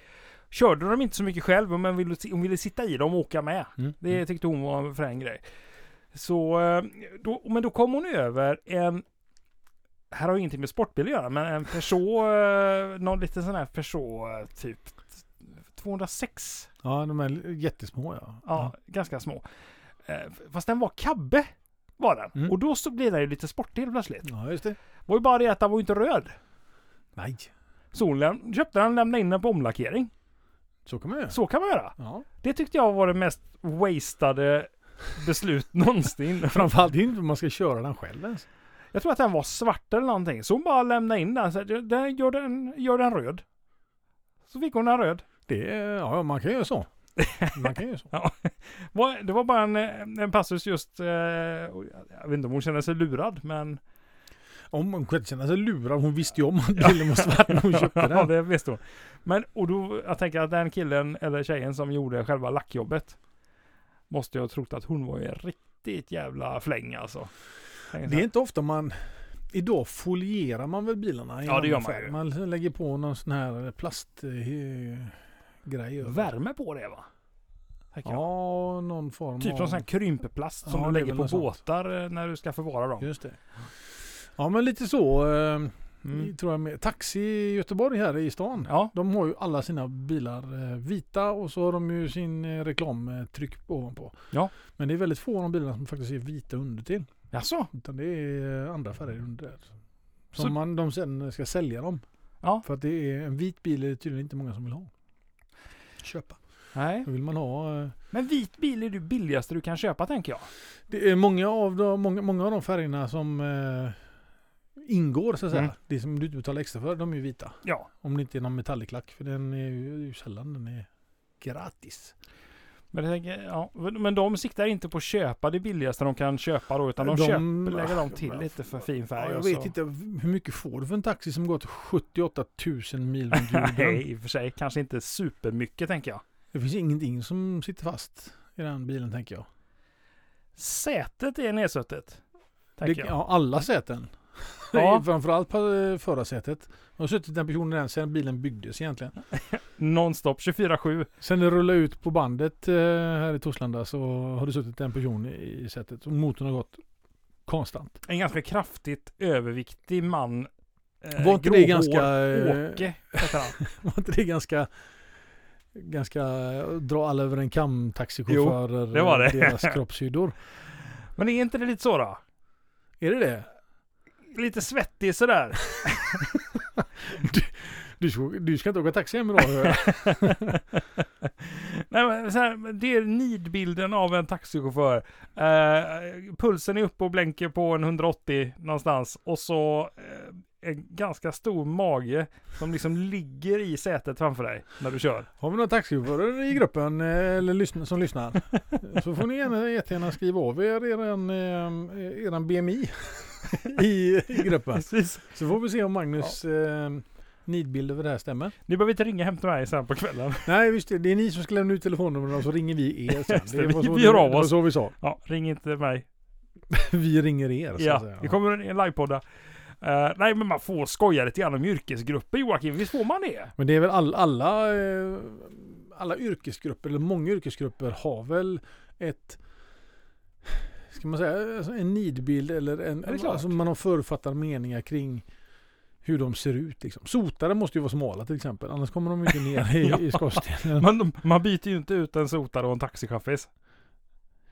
Speaker 1: Körde dem inte så mycket själv, men ville, hon ville sitta i dem och åka med.
Speaker 2: Mm.
Speaker 1: Det tyckte hon var en frän grej. Så, eh, då, men då kom hon över en, här har ju ingenting med sportbil att göra, men en Peugeot, eh, någon liten sån här Peugeot eh, typ 206.
Speaker 2: Ja, de är jättesmå ja.
Speaker 1: Ja, ganska små. Eh, Fast den var kabbe, var den.
Speaker 2: Mm.
Speaker 1: Och då så blev den ju lite sportig plötsligt.
Speaker 2: Ja, just det.
Speaker 1: var ju bara det att den var ju inte röd.
Speaker 2: Nej,
Speaker 1: Så hon läm- köpte den och lämnade in den på omlackering.
Speaker 2: så kan man göra.
Speaker 1: Så kan man göra.
Speaker 2: Ja.
Speaker 1: Det tyckte jag var det mest wastade beslut någonsin.
Speaker 2: Framförallt det är inte man ska köra den själv ens.
Speaker 1: Jag tror att den var svart eller någonting. Så hon bara lämnade in den. Så här, den gör, den gör den röd. Så fick hon den röd.
Speaker 2: Det är, ja, man kan göra så. Man kan göra så.
Speaker 1: Var- Det var bara en, eh, en passus just... Eh, och jag jag vet inte om hon kände sig lurad, men...
Speaker 2: Om hon kunde känna sig lurad, hon visste ju om att bilen var svart när hon köpte
Speaker 1: ja,
Speaker 2: den.
Speaker 1: det visste hon. Men och då, jag tänker att den killen eller tjejen som gjorde själva lackjobbet måste jag ha trott att hon var ju en riktigt jävla fläng alltså. Tänker så
Speaker 2: Det är
Speaker 1: här,
Speaker 2: inte ofta man... Idag folierar man väl bilarna? i
Speaker 1: Ja, det gör man
Speaker 2: färg.
Speaker 1: ju.
Speaker 2: Man liksom lägger på någon sån här plastgrej.
Speaker 1: Värme på det va? Tänker jag.
Speaker 2: Ja, någon form
Speaker 1: Typ
Speaker 2: av...
Speaker 1: någon sån här krympplast som
Speaker 2: Ja,
Speaker 1: du
Speaker 2: det är
Speaker 1: lägger
Speaker 2: väl
Speaker 1: på
Speaker 2: något sånt.
Speaker 1: båtar eh, när du ska förvara dem.
Speaker 2: Just det. Ja, men lite så. Eh,
Speaker 1: Mm.
Speaker 2: tror jag med. Taxi i Göteborg här i stan.
Speaker 1: Ja,
Speaker 2: De har ju alla sina bilar eh, vita och så har de ju sin eh, reklamtryck ovanpå.
Speaker 1: Ja.
Speaker 2: Men det är väldigt få av de bilarna som faktiskt är vita undertill.
Speaker 1: jaså?
Speaker 2: Utan det är eh, andra färger under. där. Som
Speaker 1: Mm. Så-
Speaker 2: man, de sen ska sälja dem.
Speaker 1: Ja.
Speaker 2: För att det är en vit bil är det tydligen inte många som vill ha. Köpa.
Speaker 1: Nej.
Speaker 2: Då vill man ha. eh,
Speaker 1: Men vit bil är det billigaste du kan köpa tänker jag.
Speaker 2: Det är många av de, många, många av de färgerna som eh, ingår så att säga.
Speaker 1: Mm.
Speaker 2: Det som du inte betalar extra för, de är ju vita.
Speaker 1: Ja.
Speaker 2: Om det inte är någon metalliklack. För den är ju, ju sällan den är gratis.
Speaker 1: Men, jag tänker, ja. men de siktar inte på att köpa det billigaste de kan köpa då, utan de,
Speaker 2: De-
Speaker 1: köper, lägger de till
Speaker 2: Ja,
Speaker 1: lite för fin färg.
Speaker 2: Ja, jag
Speaker 1: och
Speaker 2: vet
Speaker 1: så-
Speaker 2: inte hur mycket får du för en taxi som gått 78 000 mil runt jorden.
Speaker 1: Nej, i och för sig kanske inte supermycket tänker jag.
Speaker 2: det finns ingenting som sitter fast i den bilen tänker jag.
Speaker 1: Sätet är nedsuttet.
Speaker 2: Det,
Speaker 1: Tänker jag.
Speaker 2: ja, alla säten.
Speaker 1: Ja.
Speaker 2: Framförallt på eh, förarsätet. Jag har suttit den personen än sedan bilen byggdes egentligen.
Speaker 1: Nonstop 24-7.
Speaker 2: Sen när du rullar ut på bandet eh, här i Torslanda så har det suttit en person i- i sätet och motorn har gått konstant.
Speaker 1: En ganska kraftigt överviktig man. eh,
Speaker 2: Var inte det
Speaker 1: gråhår.
Speaker 2: ganska... eh,
Speaker 1: Åke heter han.
Speaker 2: Var inte det ganska... Ganska eh, dra alla över en kam taxichaufförer.
Speaker 1: det var det.
Speaker 2: eh, Deras kroppshyddor.
Speaker 1: Men är inte det lite så då?
Speaker 2: Är det det?
Speaker 1: Lite svettig sådär.
Speaker 2: Du ska, du ska inte åka taxi hem idag hör jag.
Speaker 1: Nej, men så här, det är nidbilden av en taxichaufför. Eh, pulsen är uppe och blänker på en 180 någonstans och så eh, en ganska stor mage som liksom ligger i sätet framför dig när du kör.
Speaker 2: Har vi några taxichaufförer i gruppen eh, eller lyssn- som lyssnar? Så får ni gärna, jättegärna skriva av er eran, eh, eran BMI i, i gruppen.
Speaker 1: Precis.
Speaker 2: Så får vi se om Magnus eh, nidbild över det här stämmer.
Speaker 1: Ni behöver inte ringa hem till mig sen på kvällen.
Speaker 2: Nej, visst det. Det är ni som ska lämna ut telefonnumren och så ringer vi er sen.
Speaker 1: Just det,
Speaker 2: Det var
Speaker 1: vi-
Speaker 2: så,
Speaker 1: vi hör av
Speaker 2: det var
Speaker 1: oss.
Speaker 2: så vi sa.
Speaker 1: Ja, ring inte mig.
Speaker 2: Vi ringer er. Så att
Speaker 1: Ja,
Speaker 2: säga.
Speaker 1: det kommer en livepodd. Uh, nej, men man får skoja lite grann om yrkesgrupper Joakim. Visst får man det?
Speaker 2: Men det är väl all, alla, eh, alla yrkesgrupper, eller många yrkesgrupper har väl ett ska man säga, alltså en nidbild eller en...
Speaker 1: Ja, det är klart.
Speaker 2: Alltså man har förutfattade meningar kring hur de ser ut. Liksom. Sotare måste ju vara smala till exempel, annars kommer de ju inte ner i,
Speaker 1: Ja.
Speaker 2: i skorstenen.
Speaker 1: Man, man byter ju inte ut en sotare och en taxichaffis.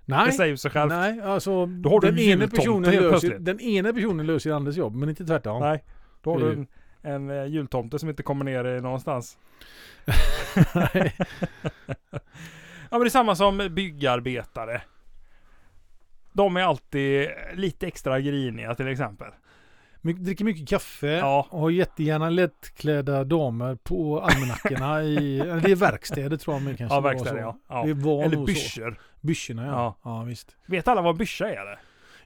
Speaker 1: Det
Speaker 2: nej,
Speaker 1: säger ju sig självt.
Speaker 2: nej, alltså
Speaker 1: Då har du
Speaker 2: den,
Speaker 1: en
Speaker 2: ena
Speaker 1: jultomte
Speaker 2: personen
Speaker 1: helt
Speaker 2: löser,
Speaker 1: plötsligt.
Speaker 2: den ena personen löser den andres jobb, men inte tvärtom.
Speaker 1: Nej. Då har
Speaker 2: Det är
Speaker 1: du
Speaker 2: ju-
Speaker 1: en, en eh, jultomte som inte kommer ner eh, någonstans.
Speaker 2: Nej.
Speaker 1: Ja men det är samma som byggarbetare. De är alltid lite extra griniga till exempel.
Speaker 2: My- dricker mycket kaffe
Speaker 1: Ja.
Speaker 2: och har jättegärna lättklädda damer på almanackorna i... eller Det är verkstäder tror jag men kanske
Speaker 1: Ja
Speaker 2: det var
Speaker 1: verkstäder
Speaker 2: så.
Speaker 1: ja. ja.
Speaker 2: Det var
Speaker 1: Eller
Speaker 2: nog så.
Speaker 1: byrsor.
Speaker 2: Byssorna ja.
Speaker 1: Ja.
Speaker 2: ja. visst.
Speaker 1: Vet alla vad byscha är eller?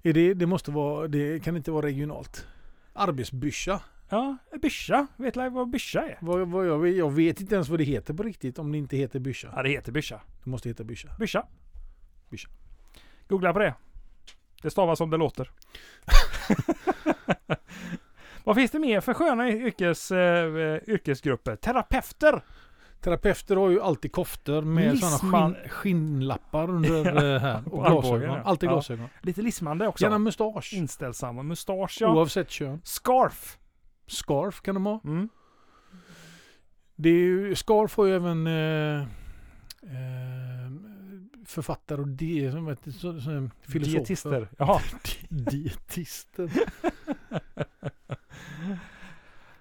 Speaker 2: Är det, det måste vara... Det kan inte vara regionalt. Arbetsbyscha.
Speaker 1: Ja, byscha. Vet alla vad byscha är?
Speaker 2: Vad, vad jag, jag vet inte ens vad det heter på riktigt om det inte heter byscha.
Speaker 1: Ja det heter byscha.
Speaker 2: Det måste heta byscha.
Speaker 1: Byscha.
Speaker 2: Byscha.
Speaker 1: Googla på det. Det stavas som det låter. Vad finns det mer för sköna yrkes, eh, yrkesgrupper? Terapeuter!
Speaker 2: Terapeuter har ju alltid koftor med sådana
Speaker 1: Lisman-
Speaker 2: skinn, skinnlappar under eh, här.
Speaker 1: på
Speaker 2: Och
Speaker 1: armbågen,
Speaker 2: glasögon.
Speaker 1: ja.
Speaker 2: Alltid
Speaker 1: Ja.
Speaker 2: glasögon.
Speaker 1: Lite lismande också.
Speaker 2: Gärna mustasch.
Speaker 1: Inställsamma. Mustasch ja.
Speaker 2: Oavsett kön.
Speaker 1: Scarf.
Speaker 2: Scarf kan de ha.
Speaker 1: Mm.
Speaker 2: Det är ju, Scarf har ju även eh, eh, författare och di, som vet, så, så, filosofer.
Speaker 1: Dietister. Jaha.
Speaker 2: Dietister.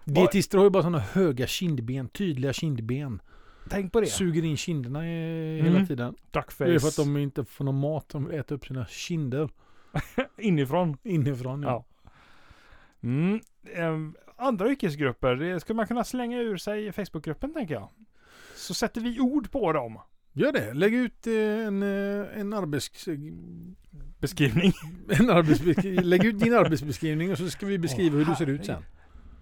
Speaker 2: Dietister har ju bara sådana höga kindben, tydliga kindben.
Speaker 1: Tänk på det.
Speaker 2: Suger in kinderna eh,
Speaker 1: Mm.
Speaker 2: hela tiden.
Speaker 1: Duckface.
Speaker 2: Det är för att de inte får någon mat, de äter upp sina kinder
Speaker 1: Inifrån.
Speaker 2: inifrån. Ja.
Speaker 1: Ja. Mm. Ehm, andra yrkesgrupper. Det skulle man kunna slänga ur sig i Facebookgruppen tänker jag. Så sätter vi ord på dem.
Speaker 2: Gör det, lägg ut eh, en, eh, en arbets...
Speaker 1: Beskrivning.
Speaker 2: En arbetsbesk- lägg ut din arbetsbeskrivning och så ska vi beskriva hur du ser ut sen.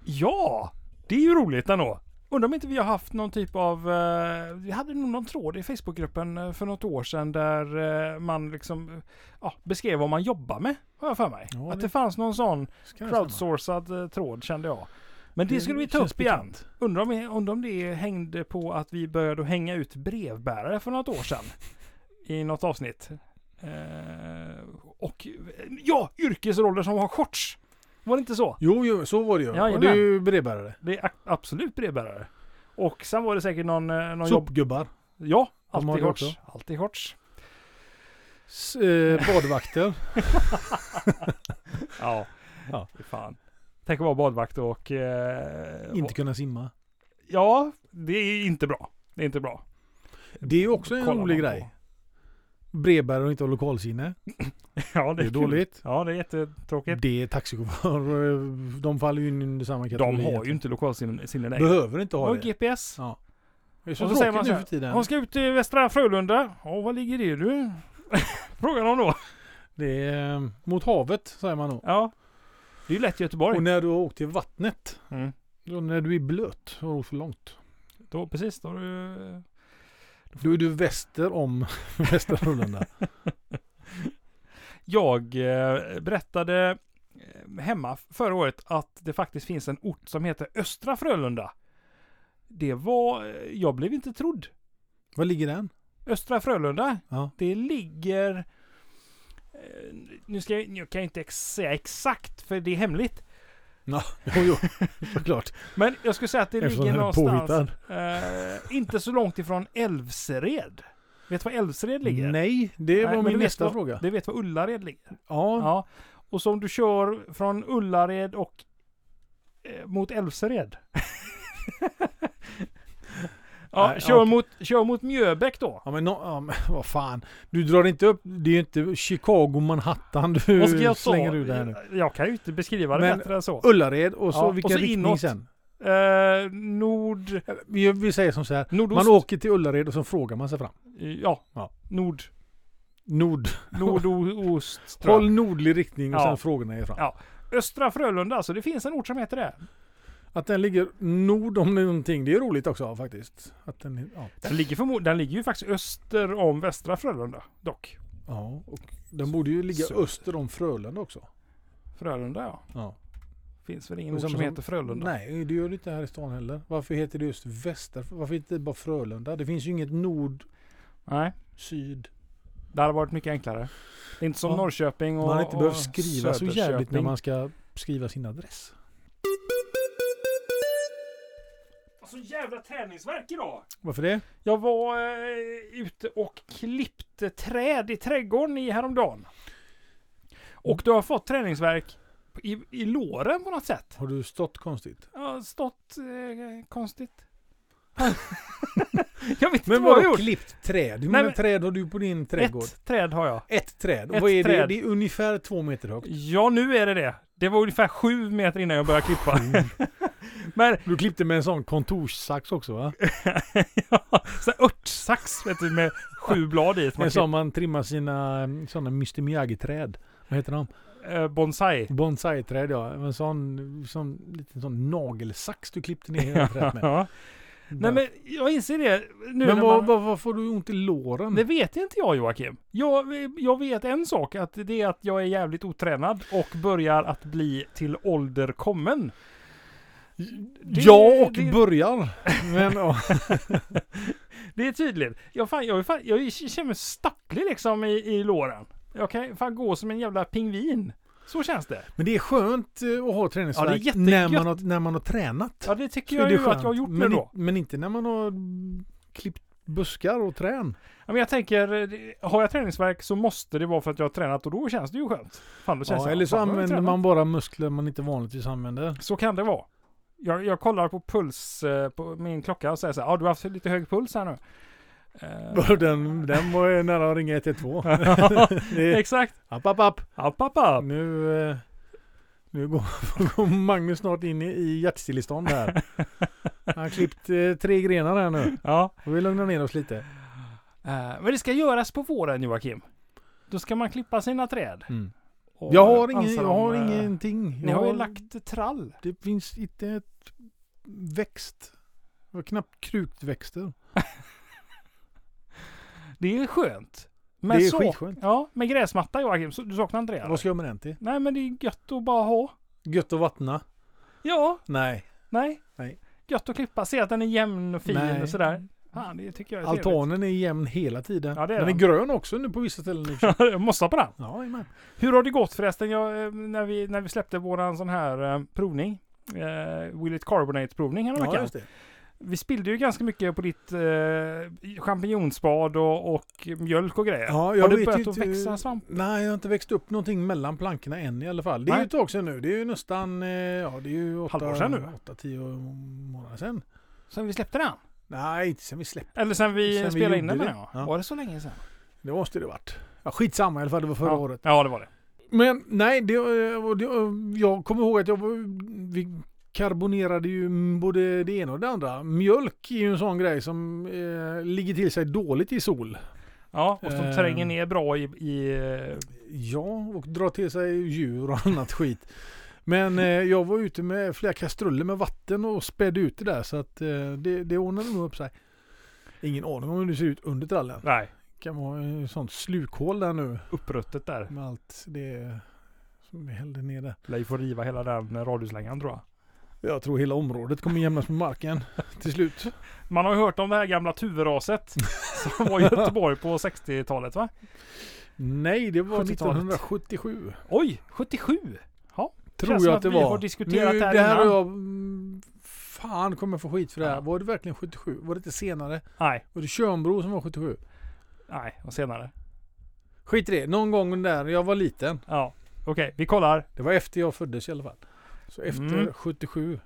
Speaker 1: Ja! Det är ju roligt ändå. Undrar om inte vi har haft någon typ av... Eh, vi hade nog någon tråd i Facebookgruppen eh, för något år sedan där eh, man liksom eh, ja, beskrev vad man jobbar med. Har jag för mig.
Speaker 2: Ja,
Speaker 1: att
Speaker 2: det-
Speaker 1: det fanns någon sån
Speaker 2: Så kan det stämma.
Speaker 1: crowdsourcad eh, tråd kände jag. Men det, skulle vi ta
Speaker 2: känns
Speaker 1: upp igen.
Speaker 2: bekant.
Speaker 1: Undrar om, undrar om det hängde på att vi började att hänga ut brevbärare för något år sedan. I något avsnitt. Eh, och ja, yrkesroller som har shorts. Var det inte så?
Speaker 2: Jo, jo, så var det ju.
Speaker 1: Jajamän.
Speaker 2: och det är ju brevbärare.
Speaker 1: Det är a- absolut brevbärare. Och sen var det säkert någon, eh, någon jobb...
Speaker 2: Sopgubbar.
Speaker 1: Ja,
Speaker 2: De har
Speaker 1: alltid
Speaker 2: det
Speaker 1: shorts.
Speaker 2: också.
Speaker 1: Alltid shorts.
Speaker 2: S- eh, badvakter.
Speaker 1: Ja.
Speaker 2: Ja.
Speaker 1: Fy Fan. Tänk att vara badvakt och... Eh,
Speaker 2: inte
Speaker 1: och-
Speaker 2: kunna simma.
Speaker 1: Ja, det är inte bra. Det är inte bra.
Speaker 2: Det är ju också en
Speaker 1: Kollar
Speaker 2: rolig
Speaker 1: man på.
Speaker 2: grej. Brevbärare och inte ha lokalsinne.
Speaker 1: Ja,
Speaker 2: Det är
Speaker 1: kul.
Speaker 2: dåligt.
Speaker 1: Ja, det är jättetråkigt.
Speaker 2: Det är taxichaufförer. De faller ju in under samma
Speaker 1: De har
Speaker 2: kategori.
Speaker 1: ju
Speaker 2: egentligen.
Speaker 1: inte lokalsinne sinne längre.
Speaker 2: Behöver inte
Speaker 1: De
Speaker 2: ha
Speaker 1: har
Speaker 2: det.
Speaker 1: GPS.
Speaker 2: Ja. Det är så,
Speaker 1: Och så
Speaker 2: tråkigt
Speaker 1: säger man så
Speaker 2: nu
Speaker 1: här,
Speaker 2: för tiden.
Speaker 1: Hon ska ut till Västra Frölunda. Ja, var ligger det du? Frågar de då.
Speaker 2: Det är eh, mot havet, säger man då.
Speaker 1: Ja. Det är ju lätt Göteborg.
Speaker 2: Och när du har åkt till vattnet,
Speaker 1: Mm.
Speaker 2: då när du är blöt, har du åkt för långt.
Speaker 1: Då, precis, då har du...
Speaker 2: Då är du väster om Västra Frölunda.
Speaker 1: Jag eh, berättade eh, hemma förra året att det faktiskt finns en ort som heter Östra Frölunda. Det var... eh, Jag blev inte trodd.
Speaker 2: Var ligger den?
Speaker 1: Östra Frölunda,
Speaker 2: Ja.
Speaker 1: det ligger... eh, Nu, ska jag, nu kan jag inte ex säga exakt för det är hemligt.
Speaker 2: Jo, jo, såklart.
Speaker 1: Men jag skulle säga att det
Speaker 2: Eftersom
Speaker 1: ligger
Speaker 2: den är
Speaker 1: någonstans...
Speaker 2: påhittad.
Speaker 1: Eh, inte så långt ifrån Älvsered. Vet du var Älvsered ligger?
Speaker 2: Nej, det
Speaker 1: Nej,
Speaker 2: var
Speaker 1: men du
Speaker 2: min
Speaker 1: vet
Speaker 2: nästa
Speaker 1: vad-
Speaker 2: fråga.
Speaker 1: Det vet var Ullared ligger.
Speaker 2: Ja,
Speaker 1: Ja. Och så om du kör från Ullared och eh, mot Älvsered. ja,
Speaker 2: Nej,
Speaker 1: kör,
Speaker 2: okej.
Speaker 1: mot, kör mot Mjöbäck då.
Speaker 2: ja, men, no, ja, men vad fan. Du drar inte upp, det är ju inte Chicago, Manhattan du
Speaker 1: Vad ska jag ta?
Speaker 2: slänger ur det här nu.
Speaker 1: Jag kan ju inte beskriva det
Speaker 2: Men-
Speaker 1: bättre än så.
Speaker 2: Ullared och så
Speaker 1: Ja,
Speaker 2: vilken
Speaker 1: och så
Speaker 2: riktning
Speaker 1: inåt.
Speaker 2: sen?
Speaker 1: Eh, nord...
Speaker 2: Eller, Vi, vi säger som så här.
Speaker 1: Nordost?
Speaker 2: Man åker till Ullared och så frågar man sig fram.
Speaker 1: ja.
Speaker 2: Ja.
Speaker 1: Nord...
Speaker 2: Nord.
Speaker 1: Nordost tror jag.
Speaker 2: Håll nordlig riktning och
Speaker 1: Ja.
Speaker 2: sen frågar ni er fram.
Speaker 1: Ja. Östra Frölunda alltså. Det finns en ort som heter det.
Speaker 2: Att den ligger nord om någonting, det är roligt också faktiskt. Att den, ja.
Speaker 1: Den ligger, förmo- den ligger ju faktiskt öster om Västra Frölunda dock.
Speaker 2: ja, och den borde ju ligga
Speaker 1: Söder.
Speaker 2: öster om Frölunda också.
Speaker 1: Frölunda ja.
Speaker 2: Ja.
Speaker 1: Finns väl ingen
Speaker 2: Och
Speaker 1: ort
Speaker 2: som-
Speaker 1: som,
Speaker 2: som-
Speaker 1: heter Frölunda?
Speaker 2: Nej, det gör det inte här i stan heller. Varför heter det just Väster? Varför inte bara Frölunda? Det finns ju inget nord,
Speaker 1: Nej.
Speaker 2: syd.
Speaker 1: Det hade varit mycket enklare. Det är inte som
Speaker 2: Ja.
Speaker 1: Norrköping och
Speaker 2: Man har inte
Speaker 1: och
Speaker 2: behövt skriva så jävligt när
Speaker 1: Söderköping.
Speaker 2: man ska skriva sin adress.
Speaker 1: Så Alltså, jävla träningsverk idag!
Speaker 2: Varför det?
Speaker 1: Jag var eh, ute och klippte träd i trädgården i häromdagen. Och då har jag fått träningsverk i, i låren på något sätt.
Speaker 2: Har du stått konstigt?
Speaker 1: Jag har stått eh, konstigt. jag vet inte
Speaker 2: Men
Speaker 1: vad jag
Speaker 2: vad
Speaker 1: har gjort.
Speaker 2: klippt träd? Hur
Speaker 1: Nej,
Speaker 2: många
Speaker 1: men-
Speaker 2: träd har du på din trädgård? Ett,
Speaker 1: Ett träd har jag.
Speaker 2: träd. Och
Speaker 1: Ett
Speaker 2: vad är
Speaker 1: träd.
Speaker 2: det? Det är ungefär två meter högt.
Speaker 1: Ja, nu är det det. Det var ungefär sju meter innan jag började klippa. Men
Speaker 2: Du klippte med en sån kontorssax också va?
Speaker 1: ja, så här örtsax vet du, med sju blad i. som man
Speaker 2: En sån man trimmar sina mm, såna Mr Miyagi-träd. Vad heter de?
Speaker 1: klipper. Eh, bonsai.
Speaker 2: Bonsai-träd ja. En sån, sån liten sån nagelsax du klippte ner hela trädet med.
Speaker 1: Ja. Nej men jag inser det nu
Speaker 2: men
Speaker 1: när
Speaker 2: vad,
Speaker 1: man...
Speaker 2: vad, vad får du ont i låren?
Speaker 1: Det vet inte jag Joakim. Jag, jag vet en sak, att det är att jag är jävligt otränad och börjar att bli till ålder kommen. det-
Speaker 2: ja och
Speaker 1: det-
Speaker 2: börjar. Men ja.
Speaker 1: Det är tydligt. Jag, fan, jag, är fan, jag är- känner mig stapplig liksom i, i låren. Jag kan fan gå som en jävla pingvin. Så känns det.
Speaker 2: Men det är skönt eh, att ha träningsvärk
Speaker 1: jättegött.
Speaker 2: när, man har, när man har tränat.
Speaker 1: Ja det tycker
Speaker 2: Så är
Speaker 1: jag
Speaker 2: det
Speaker 1: ju
Speaker 2: skönt.
Speaker 1: att jag har gjort nu
Speaker 2: men,
Speaker 1: då.
Speaker 2: i- men inte när man har mm, klippt buskar och trän.
Speaker 1: Ja, men jag tänker, eh, det- har jag träningsvärk så måste det vara för att jag har tränat och då känns det ju skönt. Fan, då känns
Speaker 2: Ja,
Speaker 1: det-
Speaker 2: eller så
Speaker 1: fan, då har jag
Speaker 2: använder
Speaker 1: tränat.
Speaker 2: man bara muskler man inte vanligtvis använder.
Speaker 1: Så kan det vara. Jag, jag kollar på puls eh, på min klocka och säger så här, ja ah, du har haft lite hög puls här nu. Eh,
Speaker 2: Den, den var ju nära att ringa 112. Det är-
Speaker 1: Exakt.
Speaker 2: app, app, app.
Speaker 1: App, app, app.
Speaker 2: Nu, eh, nu går, går Magnus snart in i, i hjärtstillestånd här. Han har klippt eh, tre grenar här nu.
Speaker 1: Ja.
Speaker 2: Får vi lugna ner oss lite.
Speaker 1: Eh, men det ska göras på våren Joakim. Då ska man klippa sina träd. Och
Speaker 2: Jag har, ingen,
Speaker 1: ansa
Speaker 2: jag
Speaker 1: dem,
Speaker 2: har
Speaker 1: eh,
Speaker 2: ingenting.
Speaker 1: Ni
Speaker 2: jag
Speaker 1: har ju lagt trall.
Speaker 2: Det finns inte ett växt. Det var knappt krukväxter.
Speaker 1: Det är skönt.
Speaker 2: Det
Speaker 1: Men
Speaker 2: är
Speaker 1: så,
Speaker 2: skitskönt.
Speaker 1: Ja, med gräsmatta Joakim. Så, du saknar inte det? eller?
Speaker 2: Vad ska jag med den till?
Speaker 1: Nej men det är gött att bara ha.
Speaker 2: Gött att vattna?
Speaker 1: Ja,
Speaker 2: Nej.
Speaker 1: nej.
Speaker 2: Nej.
Speaker 1: Gött att klippa. Se att den är jämn och fin
Speaker 2: Nej.
Speaker 1: och sådär. Fan, det tycker jag är trevligt.
Speaker 2: Altanen är jämn hela tiden.
Speaker 1: Ja, det är
Speaker 2: den är
Speaker 1: den.
Speaker 2: grön också nu på vissa ställen. i och för sig.
Speaker 1: Jag måste på den.
Speaker 2: Ja, jajamän.
Speaker 1: Hur har det gått förresten? Jag, eh, när, vi, när vi släppte våran sån här eh, provning. Eh, Will it carbonate provning här
Speaker 2: ja,
Speaker 1: veckan.
Speaker 2: just det.
Speaker 1: Vi spillde ju ganska mycket på ditt eh, champinjonspad och, och mjölk och grejer.
Speaker 2: Ja,
Speaker 1: har
Speaker 2: jag
Speaker 1: du
Speaker 2: vet
Speaker 1: börjat
Speaker 2: ju
Speaker 1: att
Speaker 2: inte-
Speaker 1: växa svamp?
Speaker 2: Nej, jag har inte växt upp någonting mellan plankorna än i alla fall. Det är
Speaker 1: Nej.
Speaker 2: ju ett tag sedan nu. Det är ju nästan, eh, ja det är ju åtta,
Speaker 1: Halvår sedan nu.
Speaker 2: åtta, tio månader sedan.
Speaker 1: Sen vi släppte den?
Speaker 2: Nej, inte sedan vi släppte.
Speaker 1: Eller sen vi
Speaker 2: Sen vi
Speaker 1: spelade in
Speaker 2: gjorde
Speaker 1: den
Speaker 2: det.
Speaker 1: menar jag.
Speaker 2: Ja.
Speaker 1: Var det så länge sedan?
Speaker 2: Det måste det varit. Ja, skitsamma i alla fall, det var förra
Speaker 1: ja.
Speaker 2: året.
Speaker 1: Ja, det var det.
Speaker 2: Men nej, det, eh, och det, och jag kommer ihåg att jag, var- vi karbonerade ju både det ena och det andra. Mjölk är ju en sån grej som eh, ligger till sig dåligt i sol.
Speaker 1: Ja, och som
Speaker 2: Eh.
Speaker 1: tränger ner bra i... i eh,
Speaker 2: Ja, och drar till sig djur och annat skit. Men eh, jag var ute med flera kastruller med vatten och spädde ut det där så att eh, det, det ordnade nog upp sig. Ingen aning om hur det ser ut under trallen.
Speaker 1: nej,
Speaker 2: Det kan vara ett sånt slukhål där nu
Speaker 1: uppruttet där.
Speaker 2: med allt det som vi hällde ner där.
Speaker 1: Lär ju få riva hela den radhuslängan tror jag.
Speaker 2: Jag tror hela området kommer jämnas med marken till slut.
Speaker 1: Man har ju hört om det här gamla tuveraset som var i Göteborg på 60-talet va?
Speaker 2: Nej, det var
Speaker 1: 70-talet.
Speaker 2: 1977.
Speaker 1: Oj, 77!
Speaker 2: Tror
Speaker 1: som
Speaker 2: jag
Speaker 1: att
Speaker 2: att det
Speaker 1: vi
Speaker 2: var.
Speaker 1: har diskuterat
Speaker 2: nu,
Speaker 1: det här
Speaker 2: det här har
Speaker 1: innan.
Speaker 2: jag... mm, Fan kommer jag få skit för det här.
Speaker 1: Ja.
Speaker 2: Var det verkligen 77? Var det inte senare?
Speaker 1: Nej,
Speaker 2: Var det Tjörnbro som var 77?
Speaker 1: nej, och senare.
Speaker 2: Skit i det. Någon gång där när jag var liten.
Speaker 1: Ja, okej, vi kollar.
Speaker 2: Det var efter jag föddes i alla fall. Så efter
Speaker 1: Mm.
Speaker 2: 77.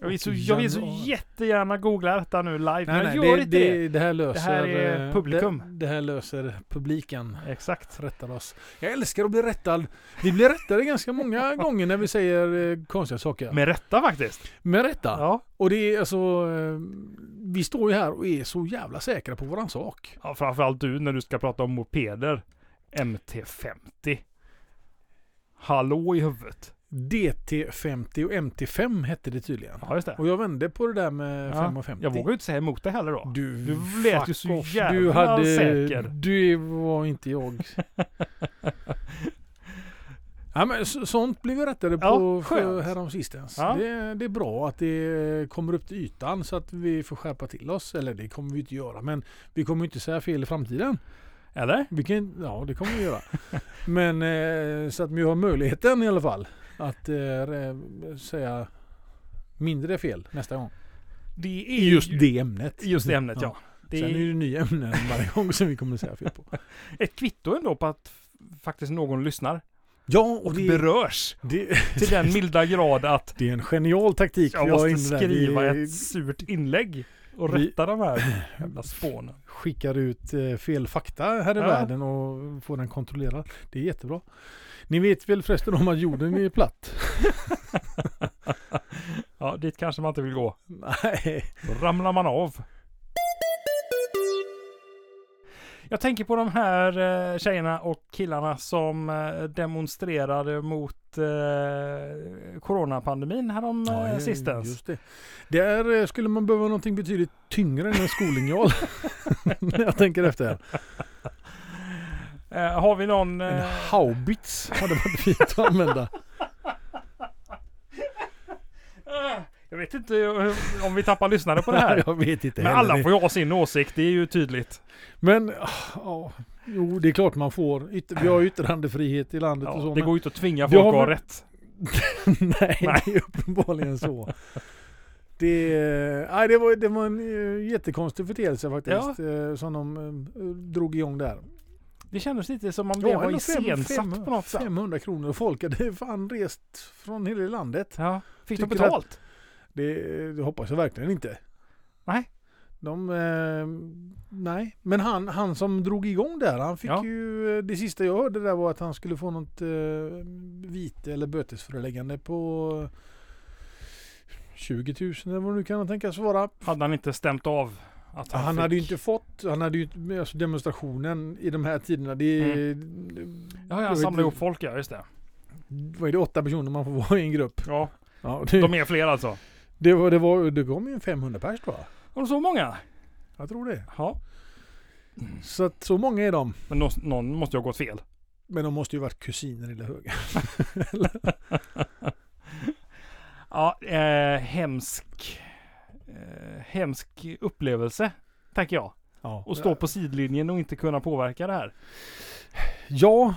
Speaker 1: Jag vill, så, jag vill så
Speaker 2: Januari.
Speaker 1: jättegärna googla detta nu live, men jag gör
Speaker 2: det,
Speaker 1: inte det.
Speaker 2: det, det här löser...
Speaker 1: här är
Speaker 2: eh,
Speaker 1: publikum.
Speaker 2: Det, det här löser publiken.
Speaker 1: Exakt.
Speaker 2: rättar oss. Jag älskar att bli rättad. Vi blir rättade ganska många gånger när vi säger eh, konstiga saker. Men,
Speaker 1: Med rätta faktiskt.
Speaker 2: rätta.
Speaker 1: Ja. ja.
Speaker 2: Och det är alltså... Eh, vi står ju här och är så jävla säkra på våran sak.
Speaker 1: Framförallt du när du ska prata om mopeder. MT50. Hallå i huvudet.
Speaker 2: DT50 och MT5 hette det tydligen.
Speaker 1: Ja, just det.
Speaker 2: Och jag vände på det där
Speaker 1: Ja,
Speaker 2: med 5,50.
Speaker 1: Jag vågar ju inte säga emot det heller då.
Speaker 2: Du,
Speaker 1: Du lät ju
Speaker 2: fuck
Speaker 1: så
Speaker 2: off.
Speaker 1: jävla
Speaker 2: du hade,
Speaker 1: säker.
Speaker 2: Du var inte jag. ja, men så- sånt blev vi rättade
Speaker 1: Ja,
Speaker 2: på för
Speaker 1: skönt.
Speaker 2: häromsistens.
Speaker 1: Ja.
Speaker 2: Det, det är bra att det kommer upp till ytan så att vi får skärpa till oss. Eller det kommer vi inte göra men vi kommer ju inte säga fel i framtiden.
Speaker 1: Eller?
Speaker 2: Vi kan, ja, det kommer vi göra. Men eh, så att vi har möjligheten i alla fall att eh, re- säga mindre fel nästa gång.
Speaker 1: Det
Speaker 2: I just det ämnet.
Speaker 1: Just det ämnet ja. Det
Speaker 2: Sen är det
Speaker 1: är
Speaker 2: ju nya ämnen varje gång som vi kommer säga fel på.
Speaker 1: ett kvitto ändå på att f- faktiskt någon lyssnar.
Speaker 2: Ja,
Speaker 1: Och
Speaker 2: och det,
Speaker 1: berörs.
Speaker 2: det,
Speaker 1: Till den milda grad att
Speaker 2: det är en genial taktik.
Speaker 1: jag
Speaker 2: vi har
Speaker 1: måste
Speaker 2: in där. Vi,
Speaker 1: skriva
Speaker 2: eh,
Speaker 1: ett surt inlägg. Och
Speaker 2: Vi-
Speaker 1: rätta de här jävla spånen.
Speaker 2: skickar ut eh, fel fakta här i
Speaker 1: Ja.
Speaker 2: världen och får den kontrollerad. Det är jättebra. Ni vet väl förresten om att jorden är platt?
Speaker 1: Ja, dit kanske man inte vill gå.
Speaker 2: Nej.
Speaker 1: Då ramlar man av. Jag tänker på de här eh, tjejerna och killarna som eh, demonstrerade mot eh, coronapandemin härom eh,
Speaker 2: ju-
Speaker 1: sistens.
Speaker 2: Just det. Där eh, skulle man behöva någonting betydligt tyngre än en skolinjal. När jag tänker efter.
Speaker 1: Eh, har vi någon...
Speaker 2: En
Speaker 1: Eh,
Speaker 2: haubits hade varit fint att använda.
Speaker 1: eh, jag vet inte eh, om vi tappar lyssnare på det här.
Speaker 2: jag vet inte
Speaker 1: Men
Speaker 2: heller.
Speaker 1: alla får ju ha sin åsikt, det är ju tydligt.
Speaker 2: Men, ah, ja. Jo, det är klart man får. Yt- vi har ju yttrandefrihet i landet och
Speaker 1: Ja,
Speaker 2: så.
Speaker 1: det
Speaker 2: men-
Speaker 1: går ju inte att tvinga
Speaker 2: Vi
Speaker 1: folk
Speaker 2: har
Speaker 1: att ha
Speaker 2: väl-
Speaker 1: rätt.
Speaker 2: Nej,
Speaker 1: Nej.
Speaker 2: det är uppenbarligen så. Det, eh, nej, det, var, det var en eh, jättekonstig företeelse faktiskt eh, som de eh, drog igång där.
Speaker 1: Det kändes lite som om det var
Speaker 2: ändå fem-
Speaker 1: iscensatt
Speaker 2: fem-
Speaker 1: på något sätt.
Speaker 2: 500 kronor och folk hade fan rest från hela landet.
Speaker 1: Ja. Fick de
Speaker 2: Tycker att-
Speaker 1: betalt?
Speaker 2: Det, det hoppas jag verkligen inte.
Speaker 1: Nej.
Speaker 2: De, eh, nej, men han, han som drog igång där, han fick
Speaker 1: Ja.
Speaker 2: ju, eh, det sista jag hörde där var att han skulle få något eh, vite eller bötesföreläggande på 20 000 eller vad du kan tänkas vara.
Speaker 1: Hade han inte stämt av att han,
Speaker 2: Han
Speaker 1: fick...
Speaker 2: hade ju inte fått, han hade ju inte- alltså demonstrationen i de här tiderna. Det, är-
Speaker 1: Mm. Ja,
Speaker 2: jag
Speaker 1: han
Speaker 2: vet
Speaker 1: samlade ihop
Speaker 2: inte,
Speaker 1: folk, ja just det.
Speaker 2: Vad är det, åtta personer man får vara i en grupp?
Speaker 1: Ja,
Speaker 2: Ja, det,
Speaker 1: de är fler alltså.
Speaker 2: det, var, det, var, det kom ju en 500 pers tror jag.
Speaker 1: Har de så många?
Speaker 2: Jag tror det.
Speaker 1: Ja.
Speaker 2: Så att så många är de.
Speaker 1: Men nå- någon måste ju ha gått fel.
Speaker 2: Men de måste ju varit kusiner eller höga.
Speaker 1: Ja, eh, hemsk... Eh, hemsk upplevelse, tänker jag.
Speaker 2: Ja.
Speaker 1: Att stå på sidlinjen och inte kunna påverka det här.
Speaker 2: Ja,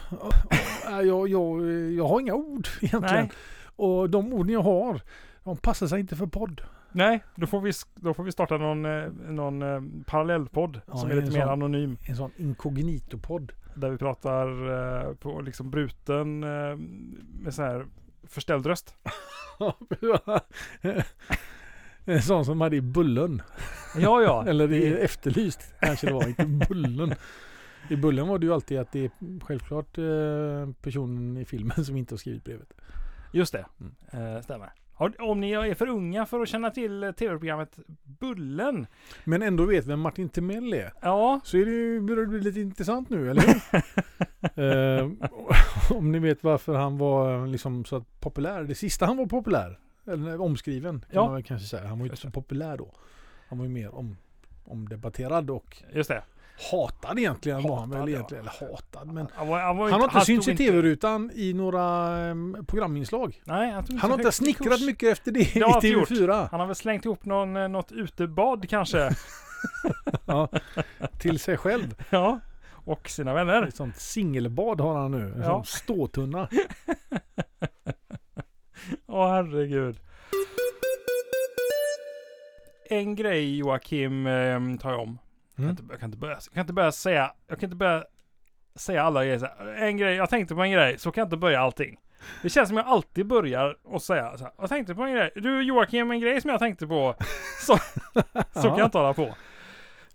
Speaker 2: ja, jag, jag, jag har inga ord egentligen.
Speaker 1: Nej.
Speaker 2: Och de orden jag har, de passar sig inte för podd.
Speaker 1: Nej, då får vi, sk- då får vi starta någon, eh, någon eh, parallellpodd
Speaker 2: Ja,
Speaker 1: som är
Speaker 2: en
Speaker 1: lite mer
Speaker 2: sån.
Speaker 1: anonym.
Speaker 2: En sån inkognito-podd.
Speaker 1: Där vi pratar eh, på liksom bruten eh, med så här förställd röst.
Speaker 2: en sån som hade i bullen.
Speaker 1: Ja, ja.
Speaker 2: Eller i
Speaker 1: det-
Speaker 2: efterlyst kanske det var, inte bullen. I bullen var det ju alltid att det är självklart eh, personen i filmen som inte har skrivit brevet.
Speaker 1: Just det,
Speaker 2: Mm.
Speaker 1: eh, stämmer. Har- Om ni är för unga för att känna till eh, tv-programmet Bullen.
Speaker 2: Men ändå vet vem Martin Timell är.
Speaker 1: Ja,
Speaker 2: Så är det ju, börjar det bli lite intressant nu, eller hur? eh, om ni vet varför han var eh, liksom så att populär. Det sista han var populär, eller omskriven kan
Speaker 1: Ja.
Speaker 2: man väl kanske säga. Han var ju inte så populär då. Han var ju mer om, omdebatterad och
Speaker 1: just det.
Speaker 2: hatad egentligen var han väl
Speaker 1: Hatad, ja.
Speaker 2: egentligen. Eller hatad, men
Speaker 1: Han, var, han, var
Speaker 2: han har inte
Speaker 1: han
Speaker 2: synts
Speaker 1: stod
Speaker 2: i tv-rutan i några eh, programinslag.
Speaker 1: Nej, han, stod
Speaker 2: Han
Speaker 1: så
Speaker 2: har inte
Speaker 1: högt i
Speaker 2: snickrat
Speaker 1: kurs.
Speaker 2: mycket efter det i
Speaker 1: har han inte gjort.
Speaker 2: TV4.
Speaker 1: Han har väl slängt ihop någon, eh, något utebad kanske.
Speaker 2: Ja, till sig själv.
Speaker 1: ja, och sina vänner.
Speaker 2: Ett sånt singelbad har han nu. En
Speaker 1: Ja.
Speaker 2: sån ståtunna.
Speaker 1: Åh herregud. En grej Joakim eh, tar jag om.
Speaker 2: Mm.
Speaker 1: Jag, kan inte, jag, kan inte börja, jag kan inte börja säga, jag kan inte börja säga alla grejer. så här. En grej, jag tänkte på en grej, så kan jag inte börja allting. Det känns som jag alltid börjar och säga så här, jag tänkte på en grej. Du Joakim, en grej som jag tänkte på. Så, så kan jag inte hålla på.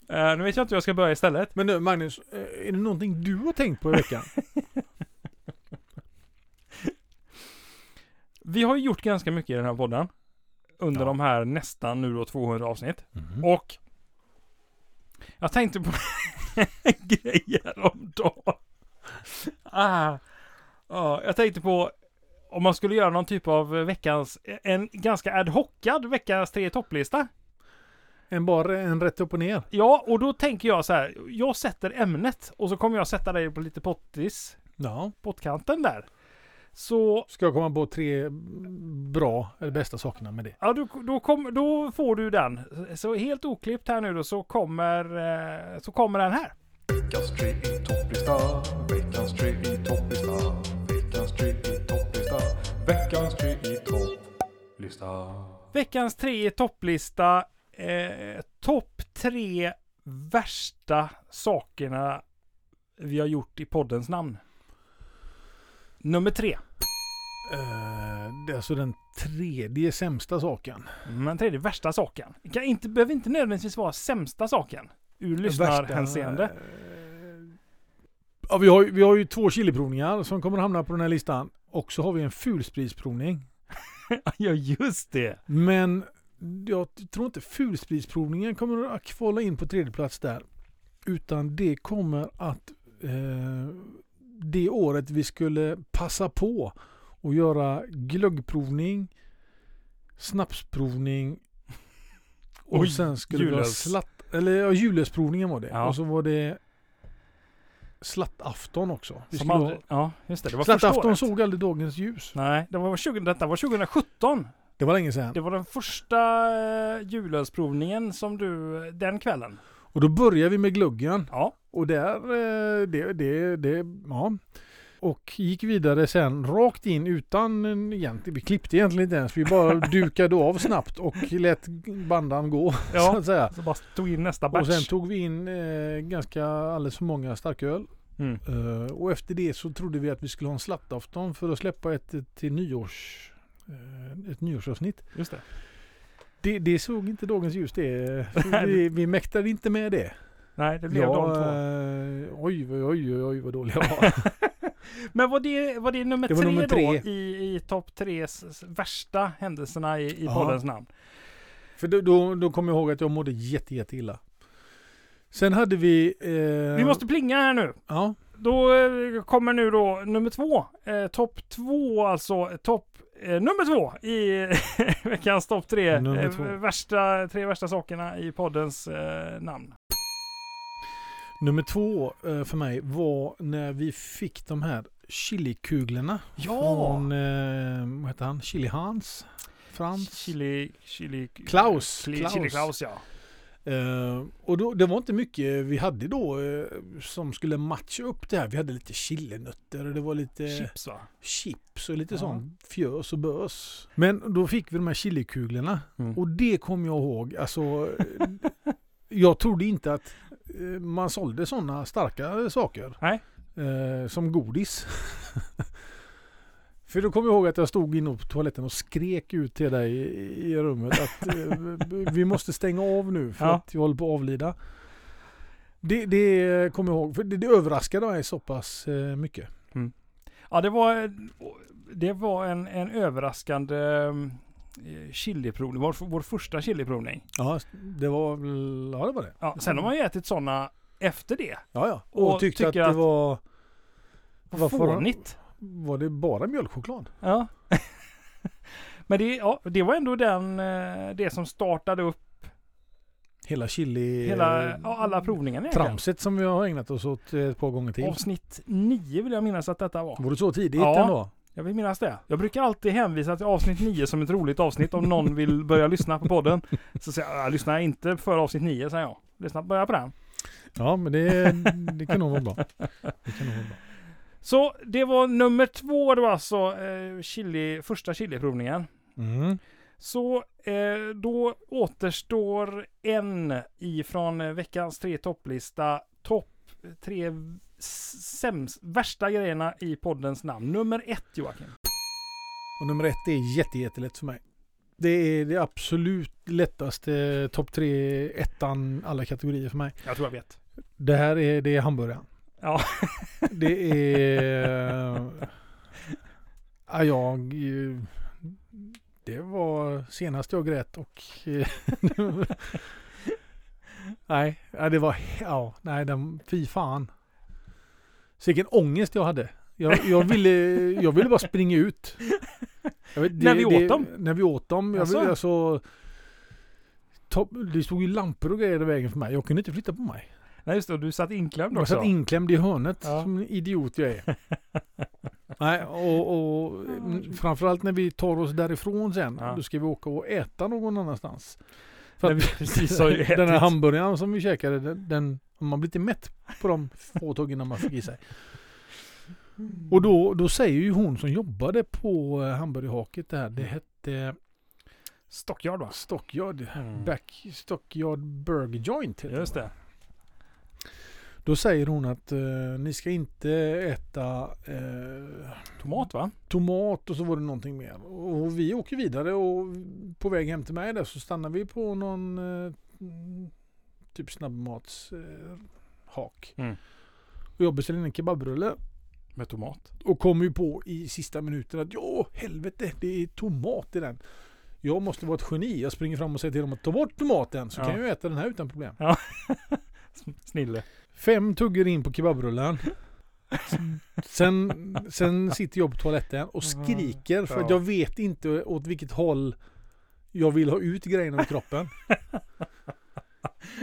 Speaker 1: Eh, nu vet jag inte hur jag ska börja istället.
Speaker 2: Men nu Magnus, eh, är det någonting du har tänkt på i veckan?
Speaker 1: Vi har ju gjort ganska mycket i den här podden. Under
Speaker 2: Ja.
Speaker 1: de här nästan nu då 200 avsnitt.
Speaker 2: Mhm. Mm.
Speaker 1: Och jag tänkte på en grej häromdagen. Ah, ja, jag tänkte på om man skulle göra någon typ av veckans, en ganska ad hocad veckans tre topplista.
Speaker 2: En bara en rätt upp och ner.
Speaker 1: Ja, och då tänker jag så här. Jag sätter ämnet och så kommer jag sätta dig på lite pottis,
Speaker 2: Ja.
Speaker 1: pottkanten där. Så,
Speaker 2: Ska jag komma på tre bra, eller bästa sakerna med det?
Speaker 1: ja, då, då, kom, då får du den. Så helt oklippt här nu då så kommer, eh, så kommer den här.
Speaker 3: Veckans tre i topplista. Veckans tre i topplista. Veckans tre i topplista. Veckans tre i topplista.
Speaker 1: Veckans tre i topplista. Eh, Topp tre värsta sakerna vi har gjort i poddens namn. Nummer tre.
Speaker 2: Eh, det är alltså den tredje sämsta saken.
Speaker 1: Den tredje värsta saken. Det kan inte, behöver inte nödvändigtvis vara sämsta saken. Ur
Speaker 2: Värsta,
Speaker 1: lyssnarhänseende.
Speaker 2: eh, Ja, vi, har, ju- vi har ju två chiliprovningar som kommer att hamna på den här listan. Och så har vi en fulspritsprovning.
Speaker 1: ja, just det.
Speaker 2: Men jag t- tror inte fulspritsprovningen kommer att kvala in på tredje plats där. Utan det kommer att eh, det året vi skulle passa på och göra glöggprovning, snapsprovning och
Speaker 1: Oj,
Speaker 2: sen skulle vi ha
Speaker 1: julöls.
Speaker 2: slatt... Eller ja, julösprovningen var det.
Speaker 1: Ja.
Speaker 2: Och så var det slattafton också. Vi
Speaker 1: Som
Speaker 2: skulle
Speaker 1: aldrig, ja, just det. Det var
Speaker 2: ha,
Speaker 1: första
Speaker 2: slattafton
Speaker 1: året.
Speaker 2: såg aldrig dagens ljus.
Speaker 1: Nej, det var 20, detta var 2017.
Speaker 2: Det var länge sedan.
Speaker 1: Det var den första eh, julölsprovningen som du, eh, den kvällen.
Speaker 2: Och då började vi med gluggen.
Speaker 1: Ja,
Speaker 2: Och där, eh, det, det, det, ja. Och gick vidare sen rakt in utan en egentlig, vi klippte egentligen inte ens, vi bara dukade av snabbt och lät bandan gå så
Speaker 1: ja.
Speaker 2: att säga.
Speaker 1: Så bara tog in nästa
Speaker 2: Och
Speaker 1: batch.
Speaker 2: sen tog vi in eh, ganska alldeles för många starköl.
Speaker 1: Mm.
Speaker 2: Eh, och efter det så trodde vi att vi skulle ha en slattafton för att släppa ett eh, till nyårs, eh, ett nyårsavsnitt.
Speaker 1: Just det.
Speaker 2: Det, det såg inte dagens ljus det. Så Vi, vi mäktade inte med det.
Speaker 1: Nej, det blev
Speaker 2: Ja,
Speaker 1: de två.
Speaker 2: eh, Oj, oj, oj, oj, vad dåliga jag var.
Speaker 1: Men var det, var det nummer
Speaker 2: Det var
Speaker 1: tre
Speaker 2: nummer
Speaker 1: då
Speaker 2: tre.
Speaker 1: i, i topp tre s- s- värsta händelserna i, i
Speaker 2: Ja.
Speaker 1: poddens namn?
Speaker 2: För då, då, då kommer jag ihåg att jag mådde jätte, jätte illa. Sen hade vi... Eh,
Speaker 1: Vi måste plinga här nu.
Speaker 2: Ja,
Speaker 1: Då eh, kommer nu då nummer två. Eh, topp två alltså. Topp eh, nummer två i veckans topp tre.
Speaker 2: Nummer
Speaker 1: Eh,
Speaker 2: två.
Speaker 1: värsta, tre värsta sakerna i poddens eh, namn.
Speaker 2: nummer två eh, för mig var när vi fick de här chilikuglerna.
Speaker 1: Ja!
Speaker 2: Från, eh, vad heter han? Chili Hans? Frans?
Speaker 1: Chili... Chili...
Speaker 2: Klaus,
Speaker 1: Chili
Speaker 2: Klaus.
Speaker 1: Klaus, Chili Klaus ja.
Speaker 2: Eh, och då, det var inte mycket vi hade då eh, som skulle matcha upp det här. Vi hade lite chilinötter och det var lite...
Speaker 1: Chips va?
Speaker 2: chips och lite
Speaker 1: Ja.
Speaker 2: sån fjös och bös. Men då fick vi de här chilikuglerna
Speaker 1: Mm.
Speaker 2: och det kom jag ihåg. Alltså, eh, jag trodde inte att eh, man sålde sådana starka saker.
Speaker 1: Nej.
Speaker 2: Eh, som godis. För då kom jag ihåg att jag stod inne på toaletten och skrek ut till dig i, i rummet att eh, vi måste stänga av nu för
Speaker 1: Ja.
Speaker 2: att jag håller på att avlida. Det, det kommer jag ihåg, för det, det överraskade mig så pass eh, mycket.
Speaker 1: Ja, det var, det var en, en överraskande eh, chiliprovning. Vår, vår första chiliprovning.
Speaker 2: Ja, det var väl... Ja, det var det.
Speaker 1: Ja, sen har man ju ätit sådana efter det.
Speaker 2: Ja, ja.
Speaker 1: Och
Speaker 2: Och, tyckte att
Speaker 1: tycker
Speaker 2: det
Speaker 1: att-
Speaker 2: var...
Speaker 1: Vad
Speaker 2: Varför har-
Speaker 1: fånigt.
Speaker 2: Var det bara mjölkchoklad?
Speaker 1: Ja. Men det, ja, det var ändå den, eh, det som startade upp
Speaker 2: Hela chili... eh,
Speaker 1: hela, ja, alla provningarna egentligen.
Speaker 2: Tramset som vi har ägnat oss åt eh, ett par gånger till. Mm.
Speaker 1: Avsnitt 9 vill jag minnas att detta var.
Speaker 2: Var det så tidigt
Speaker 1: Ja.
Speaker 2: ändå?
Speaker 1: Jag vill minnas det. Jag brukar alltid hänvisa till avsnitt 9 som ett roligt avsnitt om någon vill börja lyssna på podden. Så säger jag, "Jag lyssnar inte för avsnitt 9 säger jag. Lyssna, börja på den.
Speaker 2: Ja, men det, det kan nog vara bra. Det kan nog vara bra.
Speaker 1: Så det var nummer två då alltså, eh, chili, första chiliprovningen.
Speaker 2: Mm.
Speaker 1: Så eh, då återstår en ifrån eh, veckans tre topplista. Topp tre s- sämst, värsta grejerna i poddens namn. Nummer ett Joakim.
Speaker 2: Och nummer ett är jätte, jättelätt för mig. Det är det absolut lättaste topp tre, ettan, alla kategorier för mig.
Speaker 1: Jag tror jag vet.
Speaker 2: Det här är, det är hamburgaren.
Speaker 1: Ja.
Speaker 2: Det är... Ja, jag... eh, Det var senast jag grät och... eh, nej, ja, det var... Ja, nej, den, fy fan. Så vilken ångest jag hade. Jag, jag, ville, jag ville bara springa ut. Jag vet,
Speaker 1: När vi åt dem?
Speaker 2: När vi åt dem. Jag ville, alltså, topp- det stod ju lampor och grejer i vägen för mig. Jag kunde inte flytta på mig.
Speaker 1: Nej just det, och du satt inklämd
Speaker 2: Jag
Speaker 1: också.
Speaker 2: satt inklämd i hörnet
Speaker 1: Ja.
Speaker 2: som en idiot jag är. Nej, och, och mm, framförallt när vi tar oss därifrån sen.
Speaker 1: Ja.
Speaker 2: Då ska vi åka och äta någon annanstans. För
Speaker 1: När vi precis har ju ätit.
Speaker 2: Den här hamburgaren som vi käkade, den, den, man blir lite mätt på de få tuggarna man fick i sig. Och då, då säger ju hon som jobbade på eh, hamburgerhaket där, det hette
Speaker 1: Mm.
Speaker 2: eh,
Speaker 1: Stockyard va?
Speaker 2: Stockyard,
Speaker 1: Mm.
Speaker 2: Back Stockyard Burger Joint. heter
Speaker 1: Just
Speaker 2: det.
Speaker 1: det.
Speaker 2: Då säger hon att eh, ni ska inte äta eh,
Speaker 1: Tomat va?
Speaker 2: tomat och så var det någonting mer. Och vi åker vidare och på väg hem till mig där så stannar vi på någon eh, mm, typ snabbmatshak. Eh, hak.
Speaker 1: Mm.
Speaker 2: Och jag beställer en kebabrulle
Speaker 1: Med tomat.
Speaker 2: och kom ju på i sista minuten att ja, helvete, det är tomat i den. Jag måste vara ett geni. Jag springer fram och säger till dem att ta bort tomaten så
Speaker 1: Ja.
Speaker 2: kan jag äta den här utan problem.
Speaker 1: Snille.
Speaker 2: Fem tuggor in på kebabrullen. Sen, sen sitter jag på toaletten och
Speaker 1: Mm.
Speaker 2: skriker för att jag vet inte åt vilket håll jag vill ha ut grejerna ur kroppen.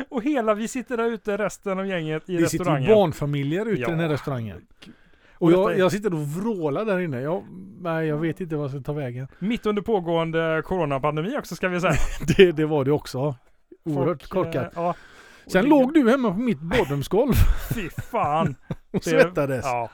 Speaker 1: Och hela, vi sitter där ute resten av gänget i
Speaker 2: Det sitter ju
Speaker 1: restaurangen.
Speaker 2: barnfamiljer ute i
Speaker 1: Ja.
Speaker 2: den här restaurangen.
Speaker 1: Och
Speaker 2: Och
Speaker 1: detta
Speaker 2: jag,
Speaker 1: är-
Speaker 2: jag sitter och vrålar där inne. Jag, nej, jag vet inte vad jag ska ta vägen.
Speaker 1: Mitt under pågående coronapandemi också ska vi säga.
Speaker 2: Det, det var det också.
Speaker 1: Folk,
Speaker 2: Oerhört
Speaker 1: eh,
Speaker 2: korkat.
Speaker 1: Ja.
Speaker 2: Sen
Speaker 1: Och
Speaker 2: låg du hemma på mitt badrumsgolv
Speaker 1: Fy fan.
Speaker 2: och svettades.
Speaker 1: Ja.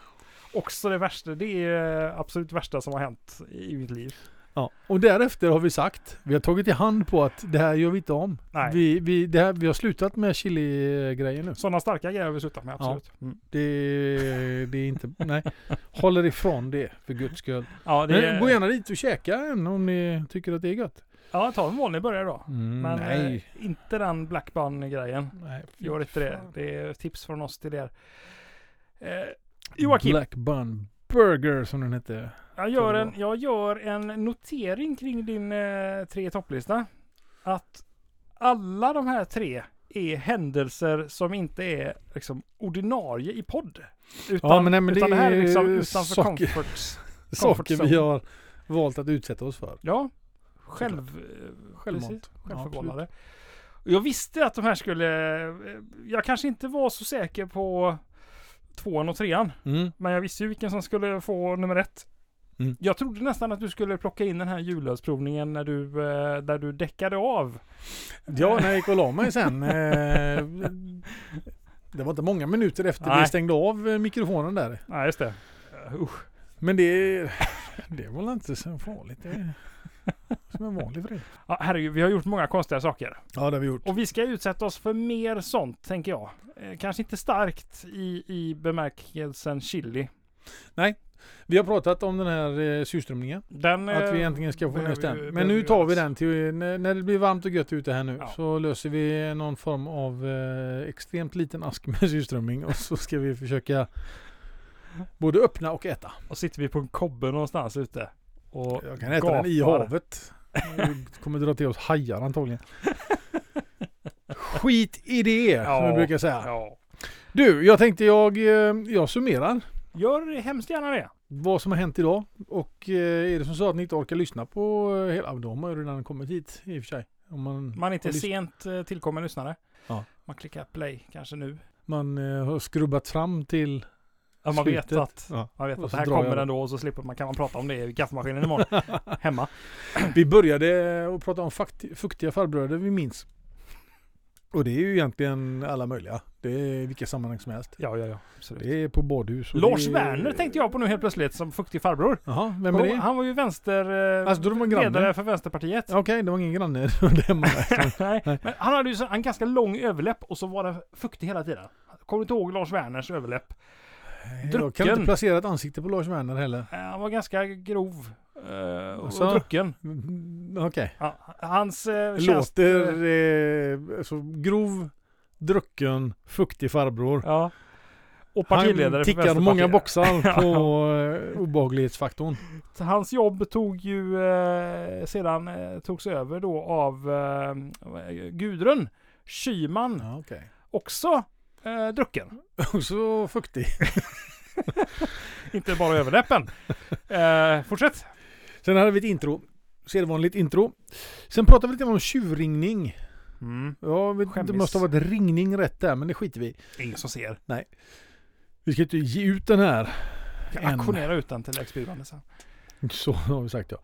Speaker 1: Också det värsta, det är eh, absolut värsta som har hänt i mitt liv.
Speaker 2: Ja. Och därefter har vi sagt, vi har tagit i hand på att det här gör vi inte om.
Speaker 1: Nej.
Speaker 2: Vi, vi, det här, vi har slutat med chili-grejer nu.
Speaker 1: Sådana starka grejer har vi slutat med, absolut. Ja, mm.
Speaker 2: Det, det är inte, nej. Håller ifrån det för guds skull.
Speaker 1: ja, det
Speaker 2: Men
Speaker 1: är...
Speaker 2: gå gärna dit och käka en om ni tycker att det är gött.
Speaker 1: ja ta en vanlig början då.
Speaker 2: Mm,
Speaker 1: Men
Speaker 2: nej.
Speaker 1: eh, inte den Black Bun-grejen.
Speaker 2: nej fy
Speaker 1: Gör inte det.
Speaker 2: fan.
Speaker 1: Det är tips från oss till er. Eh, Joakim,
Speaker 2: Black Bun Burger som den hette.
Speaker 1: jag
Speaker 2: tror
Speaker 1: gör,
Speaker 2: det
Speaker 1: en, jag gör en notering kring din eh, tre topplista. Att alla de här tre är händelser som inte är liksom, ordinarie i podd. Utan,
Speaker 2: Ja, men nej, men
Speaker 1: utan
Speaker 2: det
Speaker 1: det, här
Speaker 2: är
Speaker 1: är liksom utanför
Speaker 2: saker-
Speaker 1: comforts. Comfort
Speaker 2: Saker vi
Speaker 1: zone.
Speaker 2: har valt att utsätta oss för.
Speaker 1: Ja, själv, eh,
Speaker 2: Självmant.
Speaker 1: precis,
Speaker 2: Ja,
Speaker 1: självförvållade. Och jag visste att de här skulle... eh, Jag kanske inte var så säker på tvåan och trean.
Speaker 2: Mm.
Speaker 1: Men jag visste ju vilken som skulle få nummer ett.
Speaker 2: Mm.
Speaker 1: Jag trodde nästan att du skulle plocka in den här julölsprovningen när du, eh, där du däckade av.
Speaker 2: Ja, när jag gick och la mig sen. Eh, det var inte många minuter efter vi
Speaker 1: Nej.
Speaker 2: stängde av eh, mikrofonen där.
Speaker 1: Nej, just det. Eh, usch.
Speaker 2: Men det, det var väl inte så farligt. Det är som en vanlig fredag.
Speaker 1: Ja, herregud, vi har gjort många konstiga saker.
Speaker 2: Ja, det har vi gjort.
Speaker 1: Och vi ska utsätta oss för mer sånt, tänker jag. Eh, kanske inte starkt i, i bemärkelsen chili.
Speaker 2: Vi har pratat om den här eh, surströmmingen.
Speaker 1: Den,
Speaker 2: Att
Speaker 1: eh,
Speaker 2: vi egentligen ska få
Speaker 1: behöver
Speaker 2: ner
Speaker 1: ju-
Speaker 2: den. Men
Speaker 1: behöver
Speaker 2: nu
Speaker 1: ju
Speaker 2: tar vi
Speaker 1: göras.
Speaker 2: den till när, när det blir varmt och gött ute här nu.
Speaker 1: Ja.
Speaker 2: Så löser vi någon form av eh, extremt liten ask med surströmming. Och så ska vi försöka både öppna och äta.
Speaker 1: Och sitter vi på en kobbe någonstans ute. Och
Speaker 2: Jag kan äta den i
Speaker 1: gapar.
Speaker 2: havet. Vi kommer dra till oss hajar antagligen. Skit i det, som
Speaker 1: Ja.
Speaker 2: jag brukar säga.
Speaker 1: Ja.
Speaker 2: Du, jag tänkte jag, eh, jag summerar
Speaker 1: Gör hemskt gärna det.
Speaker 2: vad som har hänt idag. Och eh, är det som så att ni inte orkar lyssna på eh, hela... De har ju redan kommit hit i och för sig. Om man,
Speaker 1: Man är inte
Speaker 2: Och lys-
Speaker 1: sent eh, tillkommen lyssnare.
Speaker 2: Ja.
Speaker 1: Man klickar play kanske nu.
Speaker 2: man eh, har skrubbat fram till...
Speaker 1: Ja, man vet
Speaker 2: Slutet.
Speaker 1: att,
Speaker 2: Ja.
Speaker 1: man vet
Speaker 2: Och
Speaker 1: att
Speaker 2: så
Speaker 1: det här
Speaker 2: drar
Speaker 1: kommer
Speaker 2: jag.
Speaker 1: ändå och så slipper man, kan man prata om det i kaffemaskinen imorgon. Hemma.
Speaker 2: Vi började att prata om fakt- fuktiga farbröder vi minns. Och det är ju egentligen alla möjliga. Det är vilka sammanhang som helst.
Speaker 1: Ja, ja, ja. Absolut.
Speaker 2: Det är på badhus. och
Speaker 1: Lars
Speaker 2: det är-
Speaker 1: Werner tänkte jag på nu helt plötsligt som fuktig farbror.
Speaker 2: Jaha, vem är
Speaker 1: Och
Speaker 2: det?
Speaker 1: Han var ju vänster... eh,
Speaker 2: Alltså, då de var grannar.
Speaker 1: ledare för Vänsterpartiet.
Speaker 2: Okej, det var ingen granne. Det var det man-
Speaker 1: Nej, men han hade ju så, en ganska lång överläpp och så var den fuktig hela tiden. Kommer du inte ihåg Lars Werners överläpp?
Speaker 2: Jag kan inte
Speaker 1: Drucken.
Speaker 2: placera ett ansikte på Lars Werner heller.
Speaker 1: Eh, Han var ganska grov eh, och,
Speaker 2: Alltså?
Speaker 1: och drucken.
Speaker 2: Mm, Okej.
Speaker 1: Ja, hans eh, tjänst...
Speaker 2: Låter eh, alltså, grov, drucken, fuktig farbror.
Speaker 1: Ja. Och partiledare
Speaker 2: Han
Speaker 1: för
Speaker 2: tickar
Speaker 1: Vänsterpartiet.
Speaker 2: många boxar på eh, obehaglighetsfaktorn.
Speaker 1: Hans jobb tog ju eh, sedan eh, togs över då av eh, Gudrun Schyman,
Speaker 2: Ja, okay.
Speaker 1: också eh, drucken.
Speaker 2: Också fuktig.
Speaker 1: Inte bara överläppen. Eh, fortsätt.
Speaker 2: Sen hade vi ett intro. Sedvanligt intro. Sen pratade vi lite om tjurringning.
Speaker 1: Mm.
Speaker 2: Ja, vet, inte, det
Speaker 1: Skämmis.
Speaker 2: måste ha varit ringning rätt där, men det skiter vi i.
Speaker 1: Ingen som ser.
Speaker 2: Vi ska inte ge ut den här
Speaker 1: Kan
Speaker 2: En.
Speaker 1: auktionera ut den till lägstbjudande sen.
Speaker 2: Så har vi sagt ja.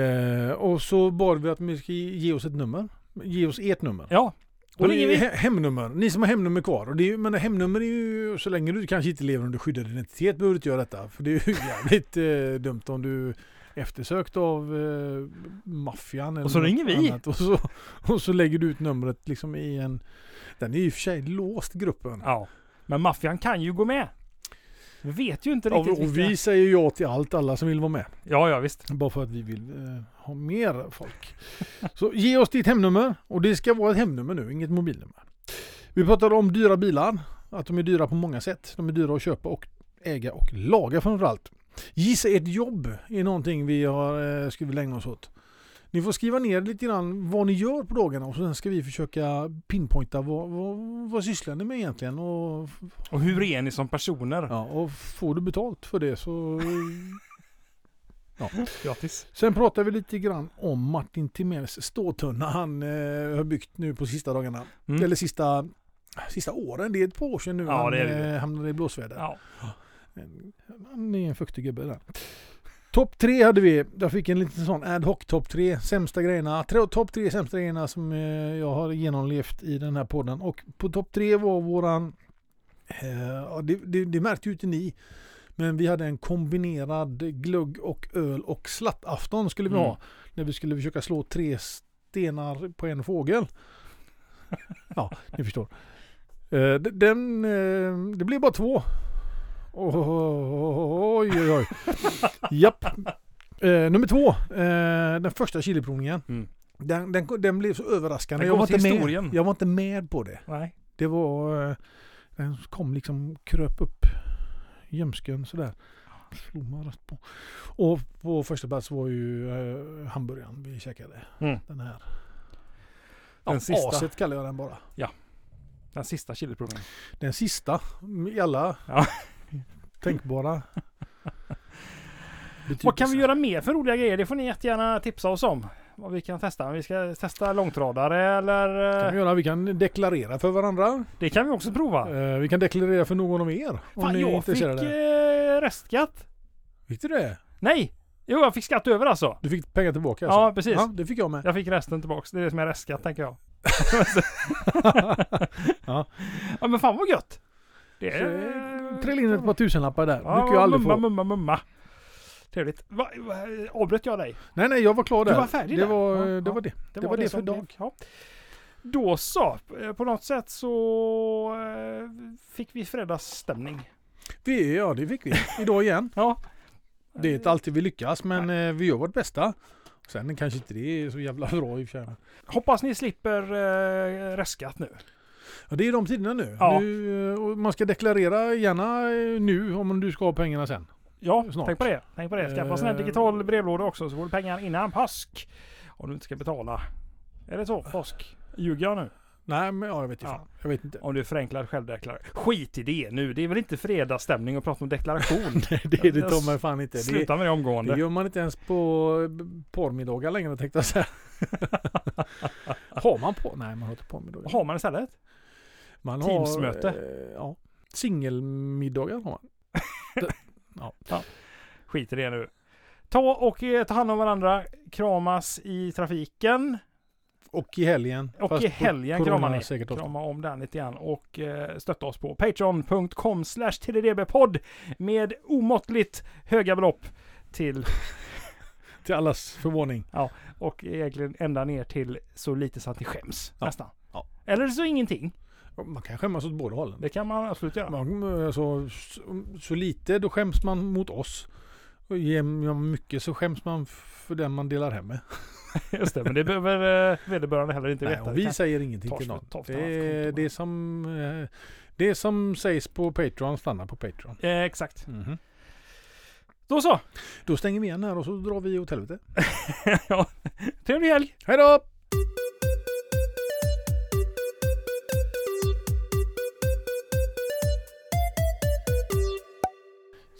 Speaker 2: Eh, och så bad vi att vi ska ge oss ett nummer. Ge oss ert nummer.
Speaker 1: Ja. Då
Speaker 2: Och det
Speaker 1: ringer
Speaker 2: är
Speaker 1: vi.
Speaker 2: he- hemnummer. Ni som har hemnummer kvar. Och det är, ju- men hemnummer är ju, så länge du kanske inte lever under skyddad identitet behöver du inte göra detta. För det är ju jävligt eh, dumt om du är eftersökt av eh, maffian. eller
Speaker 1: Och så
Speaker 2: något
Speaker 1: ringer vi.
Speaker 2: annat. Och så, och så lägger du ut numret liksom i en... Den är ju i och för sig låst gruppen.
Speaker 1: Ja. Men maffian kan ju gå med. Vi vet ju inte
Speaker 2: och,
Speaker 1: riktigt.
Speaker 2: och
Speaker 1: vilka-
Speaker 2: vi säger ja till allt, alla som vill vara med.
Speaker 1: Ja, ja visst.
Speaker 2: Bara för att vi vill eh, ha mer folk. Så ge oss ditt hemnummer. Och det ska vara ett hemnummer nu, inget mobilnummer. Vi pratade om dyra bilar. Att de är dyra på många sätt. De är dyra att köpa och äga och laga framförallt. Gissa ett jobb är någonting vi har, eh, ska vi lägna oss åt. Ni får skriva ner lite grann vad ni gör på dagarna och sen ska vi försöka pinpointa vad, vad, vad sysslar ni med egentligen och
Speaker 1: Och hur är ni som personer?
Speaker 2: Ja, och får du betalt för det så... Ja.
Speaker 1: Grattis.
Speaker 2: Sen pratar vi lite grann om Martin Timers ståtunna han eh, har byggt nu på sista dagarna.
Speaker 1: Mm.
Speaker 2: Eller sista, sista åren. Det är ett par år sedan nu
Speaker 1: Ja,
Speaker 2: han
Speaker 1: det är det.
Speaker 2: eh, hamnade i blåsväder.
Speaker 1: Ja.
Speaker 2: Han är en fuktig gubbe där. Topp tre hade vi. Jag fick en liten sån ad hoc topp tre sämsta grejerna. Tre- Topp tre sämsta grejerna som eh, jag har genomlevt i den här podden. Och på topp tre var våran, eh, ja, det, det, det märkte ju inte ni, men vi hade en kombinerad glögg och öl och slattafton skulle vi ha.
Speaker 1: Mm.
Speaker 2: När vi skulle försöka slå tre stenar på en fågel. Ja, ni förstår. Eh, d- Den, eh, det blev bara två. Oj, oj, oj. Japp. Eh, nummer två, eh, den första chiliprovningen.
Speaker 1: Mm.
Speaker 2: Den, den, den blev så överraskande.
Speaker 1: Den
Speaker 2: Jag
Speaker 1: kom
Speaker 2: var,
Speaker 1: till
Speaker 2: inte med.
Speaker 1: historien.
Speaker 2: jag var inte med på det.
Speaker 1: Nej.
Speaker 2: Det var... eh, Den kom liksom, kröp upp ljumsken sådär. Slog man rätt på. Och på första plats var ju eh, hamburgaren vi käkade.
Speaker 1: Mm.
Speaker 2: Den här.
Speaker 1: Den
Speaker 2: ja,
Speaker 1: sista.
Speaker 2: Aset kallar jag den bara.
Speaker 1: Den sista chiliproven.
Speaker 2: Den sista i alla
Speaker 1: Ja.
Speaker 2: tänkbara
Speaker 1: Vad kan vi
Speaker 2: betydelser.
Speaker 1: göra mer för roliga grejer? Det får ni jättegärna tipsa oss om. Vad vi kan testa. Vi ska testa långtradare eller... eh,
Speaker 2: kan vi göra? Vi kan deklarera för varandra.
Speaker 1: Det kan vi också prova.
Speaker 2: Eh, Vi kan deklarera för någon av er. Om
Speaker 1: Fan,
Speaker 2: ni är
Speaker 1: jag fick
Speaker 2: intresserade.
Speaker 1: eh, restskatt.
Speaker 2: Fick du det?
Speaker 1: Nej! Jo, jag fick skatt över alltså.
Speaker 2: Du fick pengar tillbaka alltså?
Speaker 1: Ja, precis.
Speaker 2: Ja, det fick jag med.
Speaker 1: Jag fick resten tillbaks. Det är det som är restskatt, tänker jag.
Speaker 2: Ja.
Speaker 1: ja, men fan vad gött! Det
Speaker 2: Så, eh,
Speaker 1: är...
Speaker 2: Trilla in ett par tusenlappar där.
Speaker 1: Ja,
Speaker 2: brukar jag aldrig
Speaker 1: mumma,
Speaker 2: få.
Speaker 1: mumma, mumma. Trevligt. Va, va, avbröt jag dig?
Speaker 2: Nej, nej, jag var klar
Speaker 1: Du
Speaker 2: där.
Speaker 1: var färdig
Speaker 2: det
Speaker 1: där.
Speaker 2: var, eh,
Speaker 1: Ja,
Speaker 2: det
Speaker 1: ja.
Speaker 2: var det. Det var det för
Speaker 1: som
Speaker 2: idag.
Speaker 1: blev- Ja. Då så. eh, På något sätt så eh, fick vi fredagsstämning.
Speaker 2: Vi, ja, det fick vi. Idag igen.
Speaker 1: Ja.
Speaker 2: Det är inte alltid vi lyckas, men eh, vi gör vårt bästa. Sen kanske inte det är så jävla bra i och för sig.
Speaker 1: Hoppas ni slipper eh, restskatt nu.
Speaker 2: Ja, det är de tiderna nu.
Speaker 1: Ja.
Speaker 2: nu eh, och man ska deklarera gärna eh, nu om du ska ha pengarna sen.
Speaker 1: Ja,
Speaker 2: Snart.
Speaker 1: tänk på det. Tänk på det. Skaffa
Speaker 2: Eh.
Speaker 1: sån här digital brevlåda också så får du pengar innan påsk. Om du inte ska betala. Är det så? Påsk? Ljuger jag nu?
Speaker 2: Nej, men ja, jag vet inte.
Speaker 1: Ja.
Speaker 2: fan. Jag vet inte.
Speaker 1: Om du förenklar självdeklaration. Skit i det nu. Det är väl inte fredagsstämning att prata om deklaration?
Speaker 2: Nej, det är det ta mig fan inte. Det,
Speaker 1: Sluta med det omgående.
Speaker 2: det gör man inte ens på eh, b- porrmiddagar längre tänkte jag säga. har man på? Nej, man har inte porrmiddagar.
Speaker 1: Har man istället?
Speaker 2: Man
Speaker 1: Teamsmöte.
Speaker 2: Har, eh, ja. Singelmiddagar har man.
Speaker 1: Skit i det nu. Ta och eh, ta hand om varandra. Kramas i trafiken.
Speaker 2: Och i helgen.
Speaker 1: Och
Speaker 2: fast
Speaker 1: i
Speaker 2: på
Speaker 1: helgen kramar ni.
Speaker 2: coronasäkert avstånd.
Speaker 1: Krama om den lite grann och eh, stötta oss på patreon.com slash tddbpodd med omåttligt höga belopp till
Speaker 2: Till allas förvåning.
Speaker 1: och egentligen ända ner till så lite så att ni skäms
Speaker 2: Ja.
Speaker 1: nästan.
Speaker 2: Ja.
Speaker 1: Eller så ingenting.
Speaker 2: Man kan skämmas åt båda hållen.
Speaker 1: Det kan man absolut göra.
Speaker 2: Man, alltså, så, så lite, då skäms man mot oss. Och ger man mycket så skäms man för den man delar hem med.
Speaker 1: Just det, men det behöver eh, vederbörande heller inte
Speaker 2: Nej,
Speaker 1: veta.
Speaker 2: och vi
Speaker 1: Utan-
Speaker 2: säger ingenting
Speaker 1: ta
Speaker 2: till
Speaker 1: för-
Speaker 2: någon.
Speaker 1: ta för
Speaker 2: Det,
Speaker 1: hans
Speaker 2: är-
Speaker 1: konto.
Speaker 2: det, är som, eh, det som sägs på Patreon stannar på Patreon.
Speaker 1: eh, exakt. Då så.
Speaker 2: Då stänger vi igen här och så drar vi åt helvete.
Speaker 1: ja. Trevlig helg.
Speaker 2: Hej då!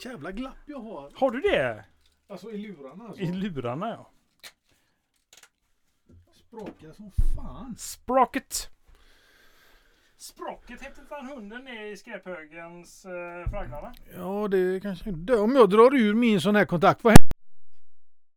Speaker 2: Jävla glapp jag har.
Speaker 1: Har du det?
Speaker 2: Alltså i lurarna alltså.
Speaker 1: I lurarna ja.
Speaker 2: Sprakar som fan.
Speaker 1: Sprocket. Sprocket hette inte han hunden ner i skräphögens eh, fragglarna?
Speaker 2: Ja det kanske inte. Om jag drar ur min sån här kontakt, vad händer?